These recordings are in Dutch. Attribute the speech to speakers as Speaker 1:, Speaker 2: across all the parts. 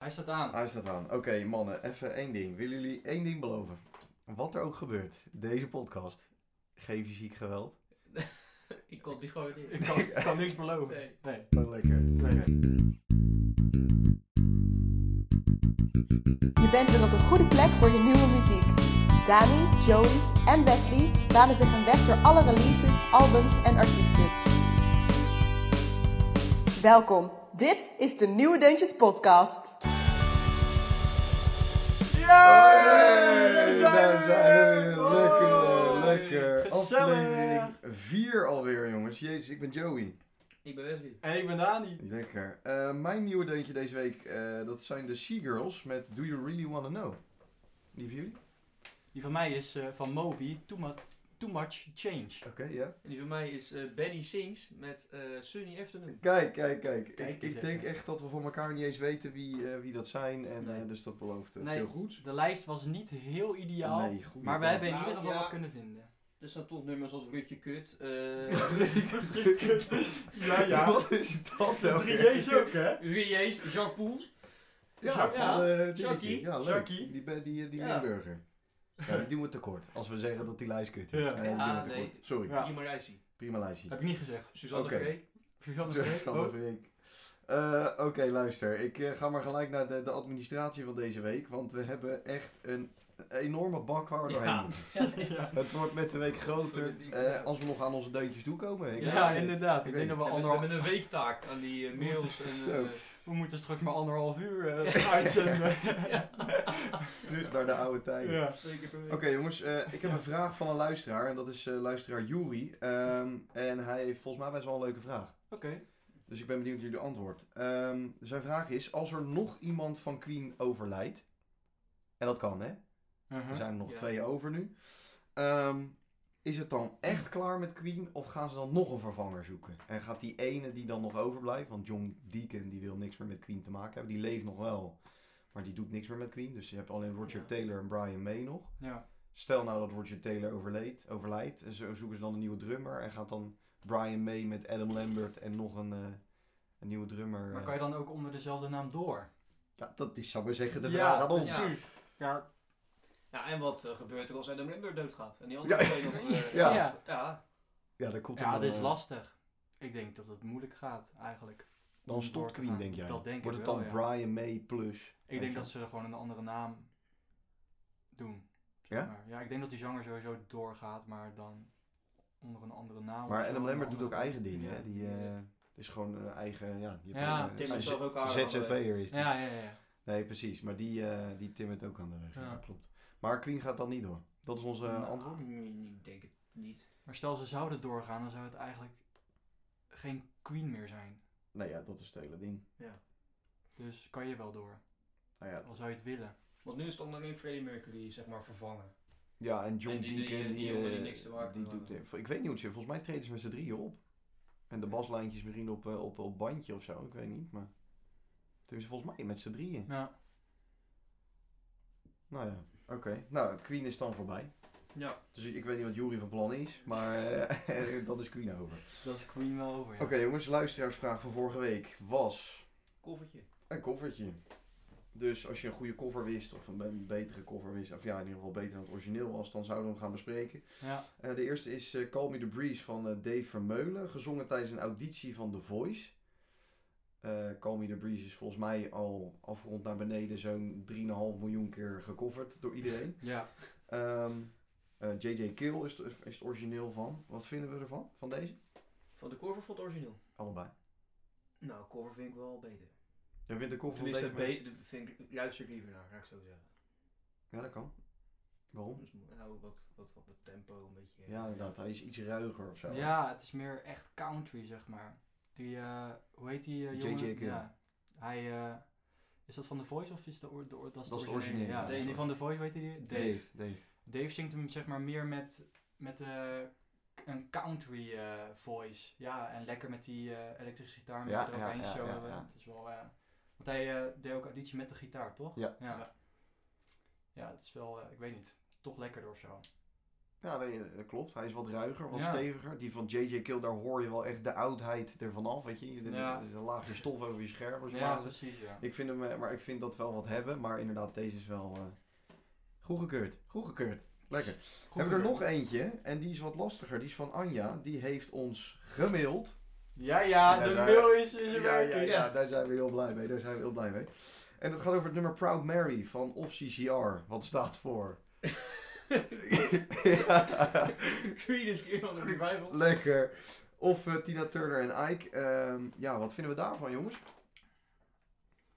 Speaker 1: Hij staat aan.
Speaker 2: Hij staat aan. Oké, mannen, even één ding. Willen jullie één ding beloven? Wat er ook gebeurt, deze podcast, geen fysiek geweld.
Speaker 1: Ik kon die gewoon niet.
Speaker 3: Ik kan, ik kan niks beloven.
Speaker 1: Nee.
Speaker 3: Nee.
Speaker 2: Oh, lekker.
Speaker 3: Nee.
Speaker 2: Oké.
Speaker 4: Je bent weer op een goede plek voor je nieuwe muziek. Dani, Joey en Wesley banen zich een weg door alle releases, albums en artiesten. Welkom, dit is de Nieuwe Deuntjes Podcast.
Speaker 2: Hey,
Speaker 3: Yay!
Speaker 2: daar zijn we. Lekker,
Speaker 3: Hoi.
Speaker 2: lekker.
Speaker 3: Gezellig.
Speaker 2: Aflevering 4 alweer, jongens. Jezus, ik ben Joey.
Speaker 1: Ik ben Wesley.
Speaker 3: En ik ben Dani.
Speaker 2: Lekker. Eh, mijn nieuwe deuntje deze week, eh, dat zijn de Seagirls met Do You Really Wanna Know. Die van jullie?
Speaker 3: Die van mij is eh, van Moby, too much, too much Change.
Speaker 2: Oké, ja.
Speaker 1: En die van mij is eh Benny Sings met eh Sunny Afternoon.
Speaker 2: Kijk, kijk, kijk.
Speaker 3: Kijk
Speaker 2: ik
Speaker 3: eens
Speaker 2: ik denk
Speaker 3: even.
Speaker 2: echt dat we van elkaar niet eens weten wie, eh, wie dat zijn. En,
Speaker 3: Nee.
Speaker 2: eh, dus dat belooft eh,
Speaker 3: Nee.
Speaker 2: veel goeds.
Speaker 3: De lijst was niet heel ideaal,
Speaker 2: Nee, goeie
Speaker 3: maar we
Speaker 2: kant.
Speaker 3: hebben in
Speaker 1: Nou,
Speaker 3: ieder geval
Speaker 1: ja.
Speaker 3: wat kunnen vinden.
Speaker 1: Er staan toch nummers als Rutje Kut.
Speaker 3: ja,
Speaker 2: Wat is dat
Speaker 3: De
Speaker 2: ook?
Speaker 3: drie J's ook, hè?
Speaker 1: Riees, Jacques Poels.
Speaker 2: Ja,
Speaker 3: Ja,
Speaker 2: van eh, dingetje.
Speaker 1: Jackie.
Speaker 2: Ja, leuk.
Speaker 3: Jackie.
Speaker 2: Die, be- die, die
Speaker 1: Ja.
Speaker 2: burger. Ja, die doen we tekort. Als we zeggen dat die lijst kut is.
Speaker 3: Ja.
Speaker 2: Nee, die
Speaker 1: Ja,
Speaker 2: doen we tekort.
Speaker 1: nee.
Speaker 2: Sorry,
Speaker 3: Ja.
Speaker 1: Ja. Marijsie.
Speaker 2: prima lijstje.
Speaker 3: Heb ik niet gezegd.
Speaker 1: Suzanne
Speaker 2: Oké.
Speaker 1: Freek.
Speaker 3: Suzanne
Speaker 2: Terug
Speaker 3: Freek.
Speaker 2: van
Speaker 3: Oh.
Speaker 2: de week. Eh, Oké, luister. Ik eh, ga maar gelijk naar de, de administratie van deze week. Want we hebben echt een enorme bak waar we
Speaker 1: Ja.
Speaker 2: doorheen moeten.
Speaker 3: Ja.
Speaker 2: Het wordt met de week groter eh, als we nog aan onze deuntjes toekomen. Ik-
Speaker 3: Ja, inderdaad. Ik
Speaker 2: Oké.
Speaker 3: denk dat we
Speaker 1: En we hebben
Speaker 3: anderhalf,
Speaker 1: een weektaak aan die eh, mails. En,
Speaker 2: Zo.
Speaker 1: eh,
Speaker 3: we moeten straks maar anderhalf uur eh, uitzenden.
Speaker 2: Terug naar de oude tijden.
Speaker 3: Ja.
Speaker 1: twee keer per week.
Speaker 2: Oké jongens, eh, ik heb een vraag van een luisteraar. En dat is eh, luisteraar Juri. Ehm, en hij heeft volgens mij best wel een leuke vraag.
Speaker 3: Oké.
Speaker 2: Dus ik ben benieuwd naar jullie antwoord. Ehm, zijn vraag is, als er nog iemand van Queen overlijdt. En dat kan hè.
Speaker 3: Uh-huh.
Speaker 2: Er zijn er nog
Speaker 1: Ja.
Speaker 2: twee over nu. Ehm, is het dan echt klaar met Queen of gaan ze dan nog een vervanger zoeken? En gaat die ene die dan nog overblijft, want John Deacon die wil niks meer met Queen te maken hebben, die leeft nog wel, maar die doet niks meer met Queen. Dus je hebt alleen Roger
Speaker 3: Ja.
Speaker 2: Taylor en Brian May nog.
Speaker 3: Ja.
Speaker 2: Stel nou dat Roger Taylor overleed, overlijdt, en zo zoeken ze dan een nieuwe drummer en gaat dan Brian May met Adam Lambert en nog een, eh, een nieuwe drummer.
Speaker 3: Maar
Speaker 2: eh,
Speaker 3: kan je dan ook onder dezelfde naam door?
Speaker 2: Ja, dat is, zou ik maar zeggen, de
Speaker 3: Ja,
Speaker 2: vraag aan ons.
Speaker 1: Ja.
Speaker 3: Precies. Ja.
Speaker 1: Ja, en wat eh, gebeurt er als Adam Lambert doodgaat? En die
Speaker 2: Ja.
Speaker 1: andere twee nog... eh,
Speaker 2: Ja.
Speaker 3: ja.
Speaker 1: ja.
Speaker 2: Ja, dat komt er
Speaker 3: Ja,
Speaker 2: wel,
Speaker 3: dit is
Speaker 2: eh,
Speaker 3: lastig. Ik denk dat het moeilijk gaat, eigenlijk.
Speaker 2: Dan
Speaker 3: om
Speaker 2: stopt
Speaker 3: door te
Speaker 2: Queen,
Speaker 3: gaan.
Speaker 2: denk jij?
Speaker 3: Dat denk
Speaker 2: Wordt
Speaker 3: ik
Speaker 2: het dan
Speaker 3: wel, ja.
Speaker 2: Brian May plus?
Speaker 3: Ik denk dat ze gewoon een andere naam doen. zeg
Speaker 2: Ja?
Speaker 3: maar. Ja, ik denk dat die zanger sowieso doorgaat, maar dan onder een andere naam.
Speaker 2: Maar
Speaker 3: of zo,
Speaker 2: Adam
Speaker 3: een
Speaker 2: Lambert doet ook
Speaker 3: andere-
Speaker 2: eigen dingen,
Speaker 3: Ja.
Speaker 2: hè? Die eh, is gewoon een eigen... Ja, die
Speaker 3: Ja,
Speaker 2: heeft een-
Speaker 1: Tim
Speaker 2: een
Speaker 1: is
Speaker 2: Z-
Speaker 1: zelf ook aan.
Speaker 2: ZZP'er is die.
Speaker 3: Ja, ja, ja.
Speaker 2: Nee, precies. Maar die, eh die Tim het ook aan de weg. Ja.
Speaker 3: Ja.
Speaker 2: klopt. Maar Queen gaat dan niet door. Dat is onze eh,
Speaker 3: Nou.
Speaker 2: antwoord.
Speaker 1: Ik denk het niet.
Speaker 3: Maar stel ze zouden doorgaan, dan zou het eigenlijk geen Queen meer zijn.
Speaker 2: Nou ja, dat is het hele ding.
Speaker 3: Dus kan je wel door,
Speaker 2: Nou ja,
Speaker 3: al zou je het willen.
Speaker 1: Want nu is het onder meer Freddie Mercury, zeg maar, vervangen.
Speaker 2: ja en John
Speaker 1: En die- die-
Speaker 2: Deacon, die,
Speaker 1: die jongen die
Speaker 2: eh,
Speaker 1: niks te maken
Speaker 2: die
Speaker 1: had.
Speaker 2: doet... eh, ik weet niet hoe het zit. Volgens mij treden ze met z'n drieën op. En de baslijntjes misschien op, eh, op, op bandje of zo. Ik weet niet, maar... Tenminste, volgens mij met z'n drieën.
Speaker 3: Ja,
Speaker 2: Nou ja, oké. Nou, Queen is dan voorbij.
Speaker 1: Ja.
Speaker 2: Dus ik weet niet wat Jury van plan is, maar eh, dan is Queen over.
Speaker 3: dat is Queen wel over, ja.
Speaker 2: Oké jongens, luisteraarsvraag van vorige week was
Speaker 1: Koffertje.
Speaker 2: een koffertje. Dus als je een goede cover wist, of een, een betere cover wist, of ja, in ieder geval beter dan het origineel was, dan zouden we hem gaan bespreken.
Speaker 3: Ja,
Speaker 2: Eh, de eerste is eh, Call Me The Breeze van eh, Dave Vermeulen, gezongen tijdens een auditie van The Voice. Eh Call Me The Breeze is volgens mij al afgerond naar beneden zo'n 3,5 miljoen keer gecoverd door iedereen.
Speaker 3: ja.
Speaker 2: Ehm, eh, JJ Kill is, is het origineel van. Wat vinden we ervan? Van deze?
Speaker 1: Van de cover vond het origineel.
Speaker 2: Allebei.
Speaker 1: Nou, cover vind ik wel beter.
Speaker 2: Jij vindt de
Speaker 1: Of
Speaker 2: koffer van
Speaker 1: tenminste,
Speaker 2: deze... maar-
Speaker 1: be- de- vind ik, luister ik liever naar, ga ik zo zeggen.
Speaker 2: Ja, dat kan. Waarom?
Speaker 1: Dus, nou, wat, wat op het tempo, een beetje.
Speaker 2: Ja, inderdaad. Hij is iets ruiger of zo.
Speaker 3: Ja, het is meer echt country, zeg maar. Die, eh, hoe heet die eh,
Speaker 2: JJ
Speaker 3: jongen?
Speaker 2: Gill.
Speaker 3: Ja. Hij, eh, is dat van The Voice of is de, oor- de, oor- dat is
Speaker 2: Dat
Speaker 3: de
Speaker 2: is de originele,
Speaker 3: Ja,
Speaker 2: ja,
Speaker 3: Dave. die van The Voice, weet je die? Dave.
Speaker 2: Dave. Dave.
Speaker 3: Dave zingt hem zeg maar meer met, met eh, een country eh, voice. Ja, en lekker met die eh, elektrische gitaar met
Speaker 2: Ja,
Speaker 3: ja, eroverheen
Speaker 2: ja, ja,
Speaker 3: zo.
Speaker 2: ja,
Speaker 3: eh,
Speaker 2: ja.
Speaker 3: Het is wel, eh, want hij eh, deed ook auditie met de gitaar, toch?
Speaker 2: Ja.
Speaker 3: Ja, ja. het is wel, eh, ik weet niet, toch lekkerder of zo.
Speaker 2: Ja, nee, dat klopt. Hij is wat ruiger, wat
Speaker 3: Ja.
Speaker 2: steviger. Die van J.J. Kill, daar hoor je wel echt de oudheid ervan af, weet je. Er
Speaker 3: Ja.
Speaker 2: er is een laagje stof over je scherm. als je
Speaker 3: Ja, dus-
Speaker 2: maar-
Speaker 3: precies, ja.
Speaker 2: ik vind hem, eh, maar ik vind dat wel wat hebben. Maar inderdaad, deze is wel eh goedgekeurd. Goedgekeurd. Lekker.
Speaker 3: Goed
Speaker 2: Hebben we er
Speaker 3: gedaan.
Speaker 2: nog eentje. En die is wat lastiger. Die is van Anja. Die heeft ons gemaild.
Speaker 3: Ja, ja,
Speaker 2: Ja,
Speaker 3: de
Speaker 2: daar-
Speaker 3: mail is is er
Speaker 2: ja,
Speaker 3: werking.
Speaker 2: ja, daar zijn we heel blij mee. Daar zijn we heel blij mee. En het gaat over het nummer Proud Mary van Of CCR. Wat staat voor?
Speaker 3: eh,
Speaker 2: Ja.
Speaker 1: Creed is keer van de revival.
Speaker 2: Lekker. Of eh, Tina Turner en Ike. Ehm, ja, wat vinden we daarvan, jongens?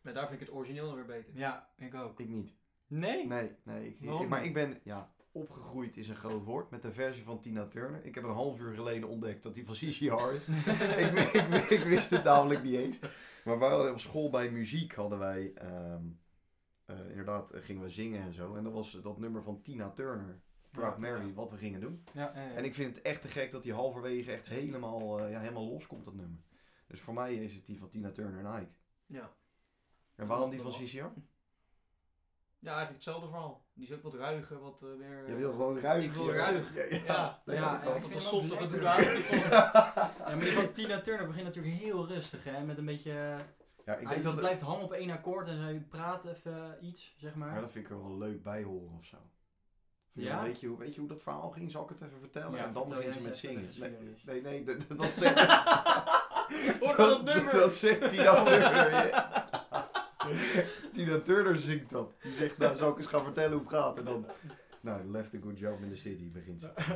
Speaker 1: Maar daar vind ik het origineel nog weer beter.
Speaker 3: Ja, ik ook.
Speaker 2: Ik niet.
Speaker 3: Nee?
Speaker 2: Nee, nee. Ik, ik-
Speaker 3: Waarom
Speaker 2: maar
Speaker 3: niet?
Speaker 2: ik ben, ja, opgegroeid is een groot woord met de versie van Tina Turner. Ik heb een half uur geleden ontdekt dat die van CCR is. ik, w- ik, w- ik wist het namelijk niet eens. Maar wij hadden op school bij muziek hadden wij, ehm, eh, inderdaad, eh, gingen we zingen en zo. En dat was dat nummer van Tina Turner. Proud
Speaker 3: Ja.
Speaker 2: Mary, wat we gingen doen.
Speaker 3: Ja, ja, ja.
Speaker 2: En ik vind het echt te gek dat die halverwege echt helemaal, eh, ja, helemaal loskomt, dat nummer. Dus voor mij is het die van Tina Turner en Ike.
Speaker 1: Ja.
Speaker 2: En waarom die van CCR?
Speaker 1: ja, eigenlijk hetzelfde verhaal. Die is ook wat ruiger, wat eh, meer...
Speaker 2: Je wil gewoon ruig.
Speaker 1: Ik wil ruig.
Speaker 2: Ja,
Speaker 1: Ja,
Speaker 2: Nee,
Speaker 3: ja,
Speaker 2: dat
Speaker 3: en
Speaker 2: kan.
Speaker 3: ik
Speaker 1: Wat
Speaker 3: vind
Speaker 1: een
Speaker 3: hem ook
Speaker 1: softere
Speaker 3: lekker.
Speaker 1: doe daar.
Speaker 3: Ja, maar die van Tina Turner begint natuurlijk heel rustig, hè? Met een beetje...
Speaker 2: Ja,
Speaker 3: Ik
Speaker 2: ik denk dat,
Speaker 3: blijft hangen op één akkoord en zij praat even eh, iets, zeg maar.
Speaker 2: maar dat vind ik er wel leuk bij horen of zo. Van,
Speaker 3: Ja?
Speaker 2: joh, Weet je, hoe, weet je hoe dat verhaal ging? Zal ik het even vertellen?
Speaker 3: Ja,
Speaker 2: en dan
Speaker 3: vertel
Speaker 2: begint ze
Speaker 3: jij
Speaker 2: met
Speaker 3: eens even de
Speaker 2: zingen. Nee,
Speaker 3: geschiedenis.
Speaker 2: nee, nee, dat, dat- dat zegt...
Speaker 1: Hoor dat nummer!
Speaker 2: Dat zegt Tina Turner. ja. Tina Turner zingt dat. Die zegt, nou, zal ik eens gaan vertellen hoe het gaat? En dan... Nou, left a good job in the city begint ze.
Speaker 1: Oh.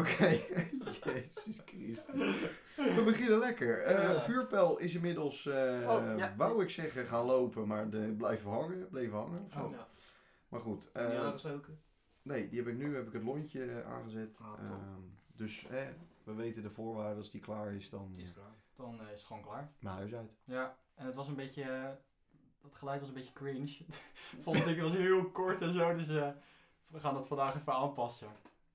Speaker 2: Oké. Jezus Christus. We beginnen lekker. Eh,
Speaker 3: Ja.
Speaker 2: Vuurpijl is inmiddels, eh,
Speaker 1: Oh, ja.
Speaker 2: wou ik zeggen, gaan lopen, maar de, blijven hangen. Bleven hangen. of zo.
Speaker 3: Oh.
Speaker 1: Ja,
Speaker 2: Maar goed.
Speaker 1: in
Speaker 2: eh,
Speaker 1: die jaren stoken.
Speaker 2: Nee, die heb ik nu heb ik het lontje eh, aangezet.
Speaker 3: Ah, top.
Speaker 2: Ehm, dus eh, we weten de voorwaarden. Als die klaar is, dan
Speaker 1: Is klaar.
Speaker 3: Dan eh, is het gewoon klaar.
Speaker 2: mijn huis uit.
Speaker 3: Ja, en het was een beetje... eh, dat geluid was een beetje cringe. Vond ik, het was heel kort en zo, dus eh, we gaan dat vandaag even aanpassen.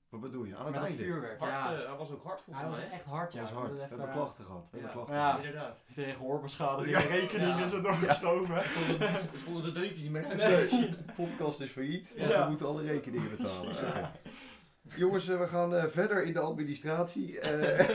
Speaker 2: Wat bedoel je? Aan het
Speaker 3: Met dat
Speaker 2: einde.
Speaker 3: vuurwerk,
Speaker 1: Hard,
Speaker 3: ja.
Speaker 1: eh, hij was ook hard volgens
Speaker 3: Hij was
Speaker 1: mij. hè?
Speaker 3: echt hard, ja.
Speaker 2: Dat was
Speaker 3: Ik
Speaker 2: hard.
Speaker 3: moet
Speaker 2: We
Speaker 3: het
Speaker 2: hebben
Speaker 3: even- eh,
Speaker 2: klachten gehad. We hebben
Speaker 1: Ja.
Speaker 2: klachten
Speaker 3: Ja.
Speaker 2: gehad.
Speaker 1: Inderdaad.
Speaker 3: Tegen hoorbeschadiging en rekening
Speaker 1: Ja.
Speaker 3: is het doorgeschoven.
Speaker 1: Ze vonden de deuntjes niet meer uit.
Speaker 2: Nee, de podcast is failliet, want
Speaker 3: Ja.
Speaker 2: we moeten alle rekeningen betalen.
Speaker 3: Ja.
Speaker 2: Oké. Jongens, eh, we gaan eh, verder in de administratie. Eh,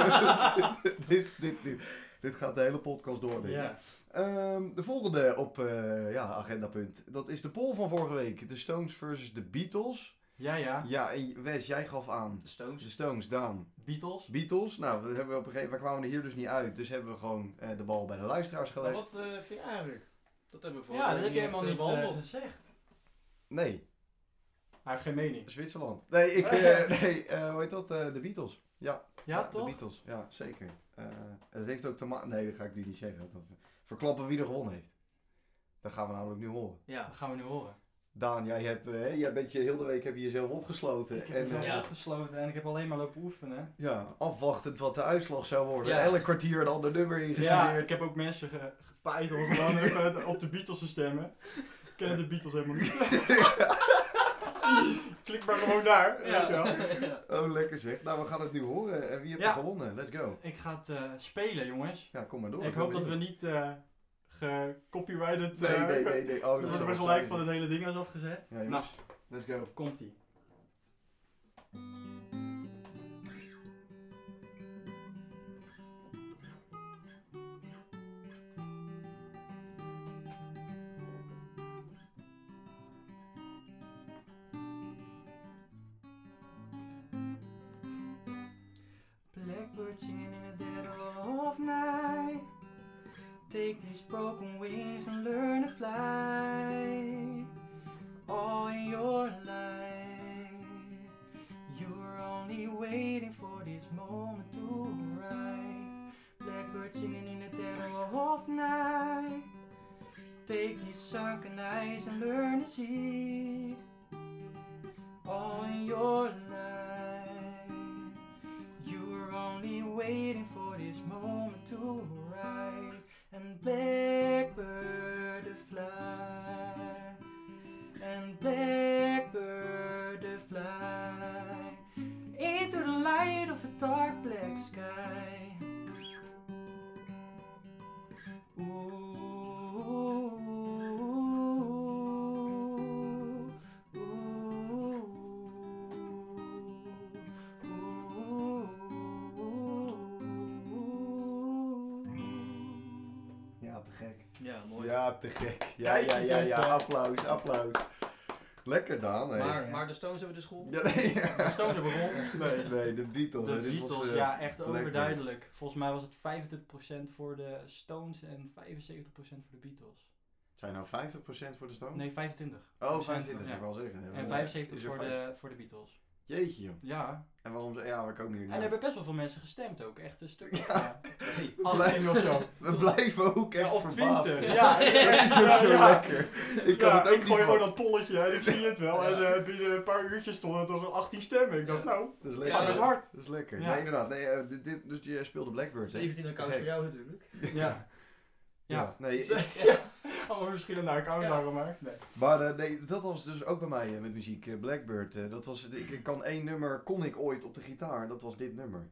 Speaker 2: dit, dit, dit, dit gaat de hele podcast door. denk ik.
Speaker 3: Ja.
Speaker 2: Ehm, de volgende op eh ja, agendapunt, dat is de poll van vorige week. De Stones versus de Beatles.
Speaker 3: ja, ja.
Speaker 2: Ja, en Wes, jij gaf aan.
Speaker 1: De Stones.
Speaker 2: De Stones, Daan.
Speaker 3: Beatles.
Speaker 2: Beatles, nou, we, hebben op een gegeven, we kwamen er hier dus niet uit. Dus hebben we gewoon eh, de bal bij de luisteraars
Speaker 1: Maar
Speaker 2: gelegd.
Speaker 1: wat eh, vind je eigenlijk? Dat hebben we voor
Speaker 3: Ja, dat heb je helemaal niet eh,
Speaker 1: behandeld.
Speaker 3: gezegd.
Speaker 2: Nee,
Speaker 3: Hij heeft geen mening.
Speaker 2: Zwitserland. Nee, ik, eh, nee eh, hoe heet dat? Eh, de Beatles.
Speaker 3: Ja,
Speaker 2: De
Speaker 3: toch?
Speaker 2: Beatles, ja, zeker. Eh, het heeft ook te maken... Nee, dat ga ik nu niet zeggen. Dan verklappen wie er gewonnen heeft. Dat gaan we namelijk nu horen.
Speaker 1: Ja.
Speaker 3: Dat gaan we nu horen.
Speaker 2: Daan, jij, hebt, eh, hè, jij bent je heel de week heb je jezelf opgesloten.
Speaker 3: Ik heb
Speaker 2: en,
Speaker 3: mezelf
Speaker 2: eh,
Speaker 1: ja.
Speaker 2: ja.
Speaker 3: opgesloten en ik heb alleen maar lopen oefenen.
Speaker 2: afwachtend wat de uitslag zou worden.
Speaker 3: Ja.
Speaker 2: Elk kwartier een ander nummer
Speaker 3: Ja,
Speaker 2: ingestudeerd.
Speaker 3: Dus ik heb ook mensen ge gepaaid om gewoon even op de Beatles te stemmen. Ik ken de Beatles helemaal niet. Klik maar gewoon daar. weet je wel.
Speaker 2: Oh, lekker zeg. Nou, we gaan het nu horen. En wie heeft
Speaker 3: Ja.
Speaker 2: er gewonnen? Let's go.
Speaker 3: Ik ga het eh, spelen, jongens.
Speaker 2: Ja, kom maar door.
Speaker 3: Ik
Speaker 2: ben
Speaker 3: hoop dat we
Speaker 2: benieuwd.
Speaker 3: niet eh gecopyrighted...
Speaker 2: Nee,
Speaker 3: eh,
Speaker 2: nee, nee. nee. Oh,
Speaker 3: Dan
Speaker 2: dat
Speaker 3: worden
Speaker 2: zou
Speaker 3: we
Speaker 2: wat
Speaker 3: gelijk
Speaker 2: zijn.
Speaker 3: van Nou. het hele ding als afgezet.
Speaker 2: Ja, jongens. Let's go.
Speaker 3: Komt ie. Blackbird singing in the dead of night. Take these broken wings and learn to fly. All in your life, you were only waiting for this moment to arrive. Blackbird singing in the dead of night. Take these sunken eyes and learn to see. All in your life. You were only waiting for this moment to arrive and blackbird to fly and blackbird to fly into the light of a dark black sky. Ooh, ooh, ooh.
Speaker 1: mooi.
Speaker 2: Ja, te gek. Ja,
Speaker 1: Kijk
Speaker 2: ja,
Speaker 1: eens
Speaker 2: ja,
Speaker 1: even.
Speaker 2: ja. Applaus, applaus. Lekker dan, hè.
Speaker 1: maar,
Speaker 3: ja.
Speaker 1: maar de Stones hebben de school.
Speaker 2: Ja, nee, ja.
Speaker 1: De Stones hebben gewonnen.
Speaker 2: Nee, nee, de Beatles.
Speaker 3: De
Speaker 2: hè, dit was,
Speaker 3: Beatles,
Speaker 2: eh,
Speaker 3: ja, echt
Speaker 2: Blackbird.
Speaker 3: overduidelijk. Volgens mij was het 25% voor de Stones en 75% voor de Beatles.
Speaker 2: Zijn nou 50% voor de Stones?
Speaker 3: Nee, 25.
Speaker 2: Oh, 25,
Speaker 3: Ja.
Speaker 2: ik wel zeggen.
Speaker 3: En
Speaker 2: Ja.
Speaker 3: 75
Speaker 2: Is er
Speaker 3: voor
Speaker 2: 50?
Speaker 3: de, voor de Beatles.
Speaker 2: Jeetje, joh.
Speaker 3: Ja.
Speaker 2: En waarom ze... Ja, we komen
Speaker 3: En
Speaker 2: hier niet
Speaker 3: er
Speaker 2: uit.
Speaker 3: hebben best wel veel mensen gestemd ook. Echt een stuk.
Speaker 2: Ja.
Speaker 3: Ja.
Speaker 2: We blijven,
Speaker 3: of zo.
Speaker 2: we blijven ook echt
Speaker 3: Ja, of
Speaker 2: verbaasd.
Speaker 3: 20. Ja,
Speaker 2: Dat is ook
Speaker 3: ja,
Speaker 2: zo
Speaker 3: ja.
Speaker 2: lekker. Ik kan het ook niet van-
Speaker 3: dat polletje en ik zie het wel.
Speaker 1: En,
Speaker 3: binnen een paar uurtjes stonden er toch 18 stemmen.
Speaker 1: Ik dacht,
Speaker 3: nou,
Speaker 2: Dat is
Speaker 1: Ja,
Speaker 2: lekker.
Speaker 1: dat is
Speaker 3: hard.
Speaker 2: Dat is lekker.
Speaker 3: Ja.
Speaker 2: Nee, inderdaad. Nee, eh, dit, dit- dus je speelde Blackbird, hè?
Speaker 1: 17 accounts voor
Speaker 2: Gek.
Speaker 1: jou natuurlijk.
Speaker 3: Ja. Ja.
Speaker 2: Nee,
Speaker 3: Allemaal verschillende accounts
Speaker 1: Ja.
Speaker 3: gemaakt. Nee.
Speaker 2: Maar eh, nee, dat was dus ook bij mij eh, met muziek, eh, Blackbird. eh, dat was, ik ik kan één nummer, kon ik ooit op de gitaar, en dat was dit nummer.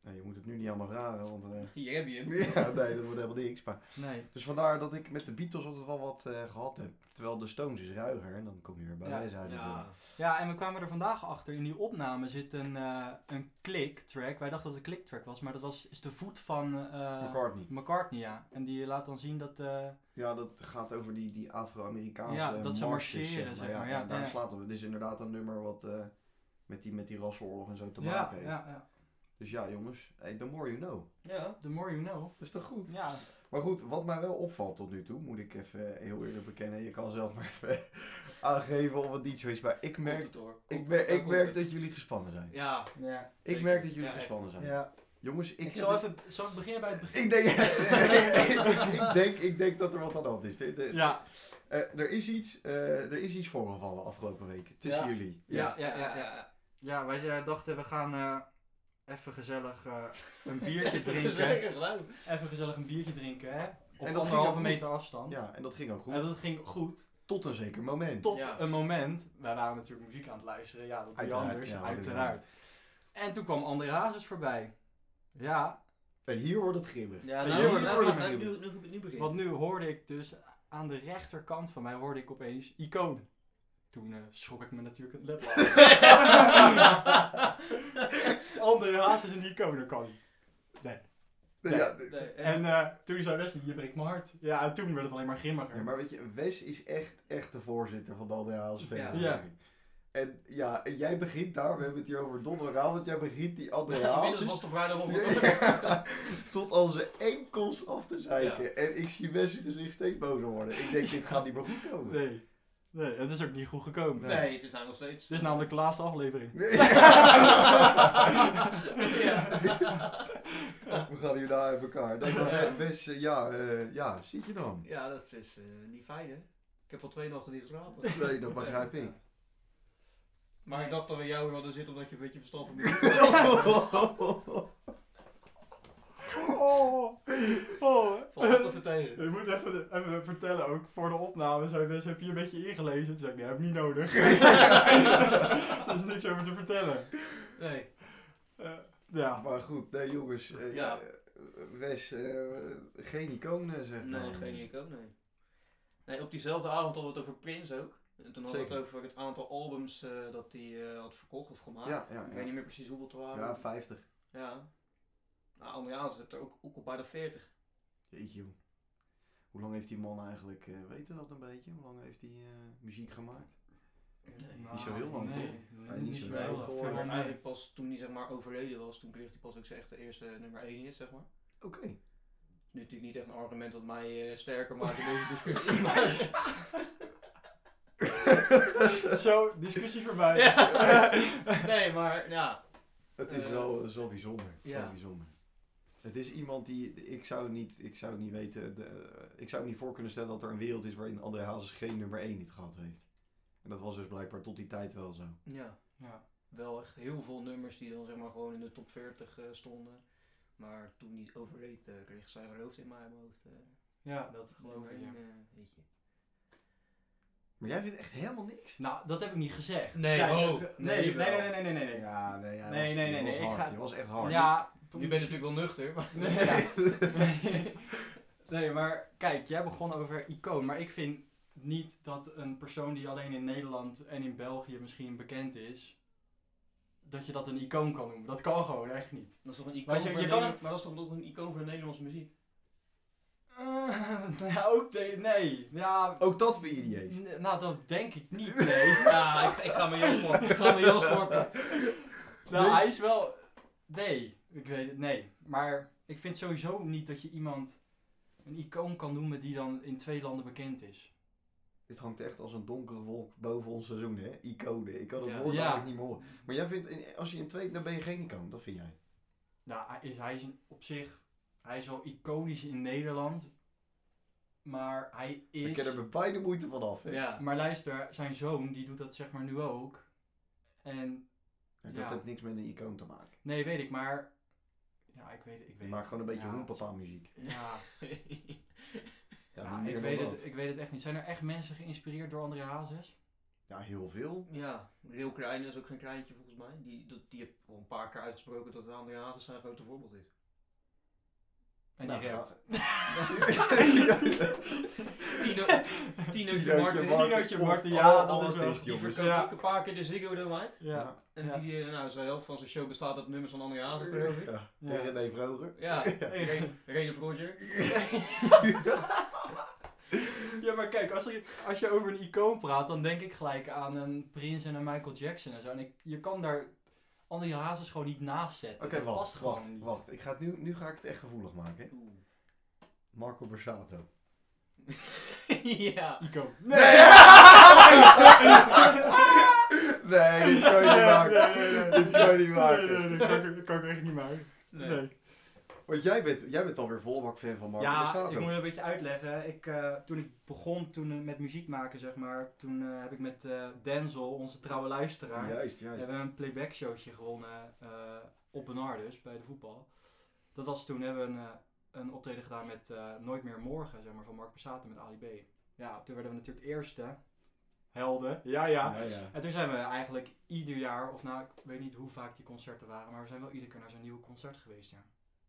Speaker 2: Nou, je moet het nu niet aan me vragen, want... eh,
Speaker 1: Hier heb je hem.
Speaker 2: ja, nee, dat wordt helemaal niks. Maar...
Speaker 3: nee.
Speaker 2: Dus vandaar dat ik met de Beatles altijd wel wat eh, gehad heb. Terwijl de Stones is ruiger, en dan kom je weer bij
Speaker 3: Ja.
Speaker 2: wijze uit. natuurlijk.
Speaker 1: Ja.
Speaker 3: Ja, en we kwamen er vandaag achter. In die opname zit een, eh een click-track. Wij dachten dat het een click-track was, maar dat was, is de voet van eh,
Speaker 2: McCartney.
Speaker 3: McCartney, ja. En die laat dan zien dat... eh,
Speaker 2: Ja, dat gaat over die, die Afro-Amerikaanse
Speaker 3: Ja, dat ze
Speaker 2: marsjes,
Speaker 3: marcheren, zeg maar, ja,
Speaker 2: en daar
Speaker 3: ja.
Speaker 2: slaat het. Het is inderdaad een nummer wat eh, met, die, met die rassenoorlog en zo te
Speaker 3: ja,
Speaker 2: maken heeft.
Speaker 3: ja, ja.
Speaker 2: Dus ja, jongens, hey, the more you know.
Speaker 1: Ja.
Speaker 3: The more you know.
Speaker 2: Dat is toch goed?
Speaker 3: Ja,
Speaker 2: Maar goed, wat mij wel opvalt tot nu toe, moet ik even eh, heel eerlijk bekennen. Je kan zelf maar even aangeven of het niet zo is. Maar ik
Speaker 1: Komt
Speaker 2: merk,
Speaker 1: het hoor. Komt
Speaker 2: ik
Speaker 1: het.
Speaker 2: merk,
Speaker 1: Daar
Speaker 2: ik
Speaker 1: komt
Speaker 2: merk
Speaker 1: het.
Speaker 2: dat jullie gespannen zijn.
Speaker 1: Ja.
Speaker 3: ja.
Speaker 2: Ik
Speaker 1: zeker.
Speaker 2: merk dat jullie
Speaker 1: Ja, echt.
Speaker 2: gespannen zijn.
Speaker 3: ja.
Speaker 2: Jongens, ik,
Speaker 3: Ik,
Speaker 2: heb
Speaker 3: zal,
Speaker 2: dit-
Speaker 3: even, zal ik beginnen bij het begin?
Speaker 2: Ik denk, ik, denk, ik denk dat er wat aan de hand is. Er, er-
Speaker 3: Ja,
Speaker 2: eh, er, is, iets, eh, er is iets voorgevallen afgelopen week tussen
Speaker 3: Ja.
Speaker 2: jullie.
Speaker 3: ja, ja,
Speaker 1: Ja, ja,
Speaker 3: ja. ja.
Speaker 1: ja.
Speaker 3: Ja, wij eh, dachten we gaan eh, even gezellig eh, een biertje drinken.
Speaker 1: Zeker, geloof ik.
Speaker 3: even gezellig een biertje drinken, hè? Op
Speaker 2: En dat ging ook
Speaker 3: anderhalve
Speaker 2: goed.
Speaker 3: meter afstand.
Speaker 2: Ja, en dat ging ook goed.
Speaker 3: En dat ging goed.
Speaker 2: Tot een zeker moment.
Speaker 3: Tot
Speaker 1: Ja.
Speaker 3: een moment. Wij waren natuurlijk muziek aan het luisteren. Ja, dat doe je
Speaker 2: Uiteraard,
Speaker 3: anders.
Speaker 2: ja,
Speaker 3: uiteraard. En toen kwam André Hazes voorbij. Ja,
Speaker 2: En hier wordt het grimmig.
Speaker 1: Ja,
Speaker 3: En
Speaker 1: nou,
Speaker 3: hier
Speaker 1: nou,
Speaker 3: wordt het
Speaker 1: nou,
Speaker 2: ook
Speaker 1: nou,
Speaker 2: nog
Speaker 1: nu, nu, nu, nu begint.
Speaker 3: want nu hoorde ik dus aan de rechterkant van mij hoorde ik opeens icoon. Toen eh, schrok ik me natuurlijk het led
Speaker 1: nou?
Speaker 3: af. André Hazes en icoon, dat kan niet.
Speaker 2: Ja,
Speaker 1: Nee,
Speaker 3: En eh, toen zei Wesley, je breekt mijn hart. Ja, en toen werd het alleen maar grimmiger.
Speaker 2: Ja, maar weet je, Wes is echt, echt de voorzitter van de ADHSV.
Speaker 1: Ja.
Speaker 3: Ja.
Speaker 2: En ja, en jij begint daar, we hebben het hier over donderdagavond, jij begint die
Speaker 1: Inmiddels
Speaker 2: ADHS
Speaker 1: was de vraag daarom.
Speaker 2: Ja. tot aan zijn enkels af te zeiken. En ik zie Wes zijn gezicht steeds bozer worden. Ik denk, dit gaat niet meer goed komen.
Speaker 3: Nee. Nee, het is ook niet goed gekomen.
Speaker 1: Nee, het is nou nog steeds.
Speaker 3: Dit is namelijk de laatste aflevering.
Speaker 2: Nee. We gaan hier naar uit elkaar. Nee, maar Wes, eh, ja, eh, ja, zit je dan?
Speaker 1: Ja, dat is eh, niet fijn hè. Ik heb al twee nachten niet geslapen.
Speaker 2: Nee, dat begrijp ik.
Speaker 1: Maar ik dacht dat we jou hadden zitten omdat je een beetje verstand van me
Speaker 3: Oh, oh.
Speaker 1: Valt dat even tegen.
Speaker 3: Ik moet even, even vertellen, ook voor de opname, zei Wes, heb je een beetje ingelezen? Toen zei ik, nee, heb ik niet nodig. er is niks over te vertellen.
Speaker 1: Nee.
Speaker 3: Eh, ja.
Speaker 2: Maar goed, nee jongens. eh,
Speaker 1: Ja.
Speaker 2: eh, Wes, eh, geen iconen zeg maar.
Speaker 1: Nee, geen ik ook, nee. Nee, op diezelfde avond hadden we het over Prince ook. En toen hadden we het
Speaker 2: Zeker.
Speaker 1: over het aantal albums eh, dat hij eh, had verkocht of gemaakt.
Speaker 2: Ja, ja,
Speaker 1: Ik
Speaker 2: ja.
Speaker 1: weet niet meer precies hoeveel het waren.
Speaker 2: Ja, 50.
Speaker 1: Ja. Nou, André Hazes heeft er ook, ook op bij de 40.
Speaker 2: Jeetje joh. Hoe lang heeft die man eigenlijk, eh weten we dat een beetje? Hoe lang heeft hij eh, muziek gemaakt?
Speaker 1: Nee.
Speaker 2: Niet zo heel lang,
Speaker 3: Nee,
Speaker 2: toch? Hij is niet zo
Speaker 3: lang.
Speaker 2: heel lang.
Speaker 3: Veel
Speaker 1: Maar
Speaker 3: lang mee.
Speaker 1: eigenlijk pas toen hij zeg maar overleden was, toen kreeg hij pas ook zijn echte eerste nummer 1 is, zeg maar.
Speaker 2: Oké.
Speaker 1: Nu natuurlijk niet echt een argument dat mij eh, sterker maakt in deze discussie, maar...
Speaker 3: Zo, discussie voorbij.
Speaker 1: Ja. Nee, maar ja.
Speaker 2: Het is
Speaker 1: Eh,
Speaker 2: wel, het is wel bijzonder. Het is
Speaker 1: ja.
Speaker 2: wel bijzonder. Het is iemand die, ik zou niet, ik zou niet weten, de, eh, ik zou me niet voor kunnen stellen dat er een wereld is waarin André Hazes geen nummer 1 niet gehad heeft. En dat was dus blijkbaar tot die tijd wel zo.
Speaker 1: ja.
Speaker 3: Ja.
Speaker 1: Wel echt heel veel nummers die dan zeg maar gewoon in de top 40 eh, stonden. Maar toen hij overleed, eh, kreeg zij haar hoofd in mijn hoofd. eh,
Speaker 3: Ja, dat geloof ik.
Speaker 1: nummer
Speaker 3: ja.
Speaker 1: één, eh, weet je.
Speaker 2: Maar jij vindt echt helemaal niks?
Speaker 3: Nou, dat heb ik niet gezegd.
Speaker 1: Nee,
Speaker 3: Kijk,
Speaker 1: oh,
Speaker 3: het- nee,
Speaker 1: nee,
Speaker 3: nee,
Speaker 1: wel.
Speaker 3: nee, nee, nee, nee, nee.
Speaker 2: Ja, nee, hij
Speaker 3: Nee,
Speaker 2: was,
Speaker 3: nee,
Speaker 2: je
Speaker 3: nee,
Speaker 2: was
Speaker 3: nee, ik
Speaker 2: hard.
Speaker 3: ga-
Speaker 2: Je was echt hard.
Speaker 3: Ja,
Speaker 1: Je bent natuurlijk wel nuchter, maar...
Speaker 3: Nee, ja. Nee. nee, maar kijk, jij begon over icoon. Maar ik vind niet dat een persoon die alleen in Nederland en in België misschien bekend is, dat je dat een icoon kan noemen. Dat kan gewoon echt niet.
Speaker 1: Dat is toch een
Speaker 3: Maar
Speaker 1: icoon
Speaker 3: je-
Speaker 1: voor
Speaker 3: je
Speaker 1: Nederland-
Speaker 3: kan hem-
Speaker 1: maar dat is toch nog een icoon voor Nederlandse muziek?
Speaker 3: Eh, ja, ook nee, nee. Ja,
Speaker 2: Ook dat weer idioot.
Speaker 3: n- nou dat denk ik niet, nee.
Speaker 1: Ja, ik, ik ga me heel sporten. Ik ga me heel sporten.
Speaker 3: Nou, hij is wel. Nee, ik weet het, nee. Maar ik vind sowieso niet dat je iemand een icoon kan noemen die dan in twee landen bekend is.
Speaker 2: Dit hangt echt als een donkere wolk boven ons seizoen, hè? Icone. Ik kan dat
Speaker 1: Ja.
Speaker 2: woord
Speaker 3: Ja.
Speaker 2: eigenlijk niet meer horen. Maar jij vindt, in- als je in twee, dan ben je geen icoon. Dat vind jij.
Speaker 3: Nou, hij is, hij is een- op zich. Hij is wel iconisch in Nederland. Maar hij
Speaker 2: Ik
Speaker 3: is.
Speaker 2: ken er bij beide moeite van af, hè?
Speaker 1: Ja.
Speaker 3: Maar luister, zijn zoon die doet dat zeg maar nu ook. En
Speaker 2: En dat
Speaker 3: Ja.
Speaker 2: heeft niks met een icoon te maken.
Speaker 3: nee, weet ik, maar. Ja, ik weet, ik
Speaker 2: Je
Speaker 3: weet
Speaker 2: maakt gewoon een beetje
Speaker 3: ja,
Speaker 2: hoenpapa muziek.
Speaker 3: het- Ja,
Speaker 2: Ja,
Speaker 3: ja,
Speaker 2: niet meer
Speaker 3: ik,
Speaker 2: dan
Speaker 3: weet
Speaker 2: dat.
Speaker 3: het, ik weet het echt niet. Zijn er echt mensen geïnspireerd door André Hazes?
Speaker 2: Ja, heel veel.
Speaker 1: Ja, Real Kleine is ook geen kleintje volgens mij. Die, dat, die heeft al een paar keer uitgesproken dat André Hazes zijn grote voorbeeld is.
Speaker 3: En
Speaker 2: Nou,
Speaker 3: die
Speaker 2: ja.
Speaker 3: rapt.
Speaker 1: Tino, Tinootje
Speaker 2: Tinootje Oh,
Speaker 1: Martin.
Speaker 2: Martin.
Speaker 3: Tinootje
Speaker 2: Of
Speaker 3: Martin, ja,
Speaker 2: all
Speaker 3: dat is
Speaker 2: artists,
Speaker 3: wel.
Speaker 1: Die
Speaker 2: jongens.
Speaker 1: verkoopt
Speaker 3: Ja.
Speaker 1: ook een paar keer de Ziggo Dome uit.
Speaker 3: Ja.
Speaker 1: En
Speaker 3: Ja.
Speaker 1: die, eh, nou, zijn helft van zijn show bestaat uit nummers van André Hazes geloof ik.
Speaker 2: Ja.
Speaker 3: Ja.
Speaker 2: En René Vroger.
Speaker 1: Ja, Re- Rene Vroger.
Speaker 3: Ja, maar kijk, als je, als je over een icoon praat, dan denk ik gelijk aan een Prince en een Michael Jackson en zo. En ik, je kan daar André Hazes gewoon niet naast
Speaker 2: Oké,
Speaker 3: zetten. Dat
Speaker 2: wacht,
Speaker 3: past gewoon
Speaker 2: wacht,
Speaker 3: niet.
Speaker 2: wacht. Ik ga het nu, nu ga ik het echt gevoelig maken. hè.
Speaker 1: Oeh.
Speaker 2: Marco Borsato.
Speaker 1: ja.
Speaker 3: Icoon.
Speaker 2: Nee! nee, dit kan je niet maken. Dit kan je niet maken.
Speaker 3: dat kan ik echt niet maken.
Speaker 1: Nee.
Speaker 2: Want jij bent, jij bent alweer volle bak fan van Marco
Speaker 3: Ja,
Speaker 2: Borsato.
Speaker 3: ik moet het een beetje uitleggen. Ik, eh, toen ik begon toen, eh, met muziek maken, zeg maar, toen eh, heb ik met eh, Denzel, onze trouwe luisteraar,
Speaker 2: Juist,
Speaker 3: We
Speaker 2: juist.
Speaker 3: hebben een playback showtje gewonnen eh, op Benar dus, bij de voetbal. Dat was toen, hebben we een, eh, een optreden gedaan met eh, Nooit meer morgen, zeg maar, van Mark Passato met Ali B. Ja, toen werden we natuurlijk eerste. Helden. Ja, ja.
Speaker 2: Ja, ja.
Speaker 3: En toen zijn we eigenlijk ieder jaar, of nou, ik weet niet hoe vaak die concerten waren, maar we zijn wel iedere keer naar zijn nieuwe concert geweest, ja.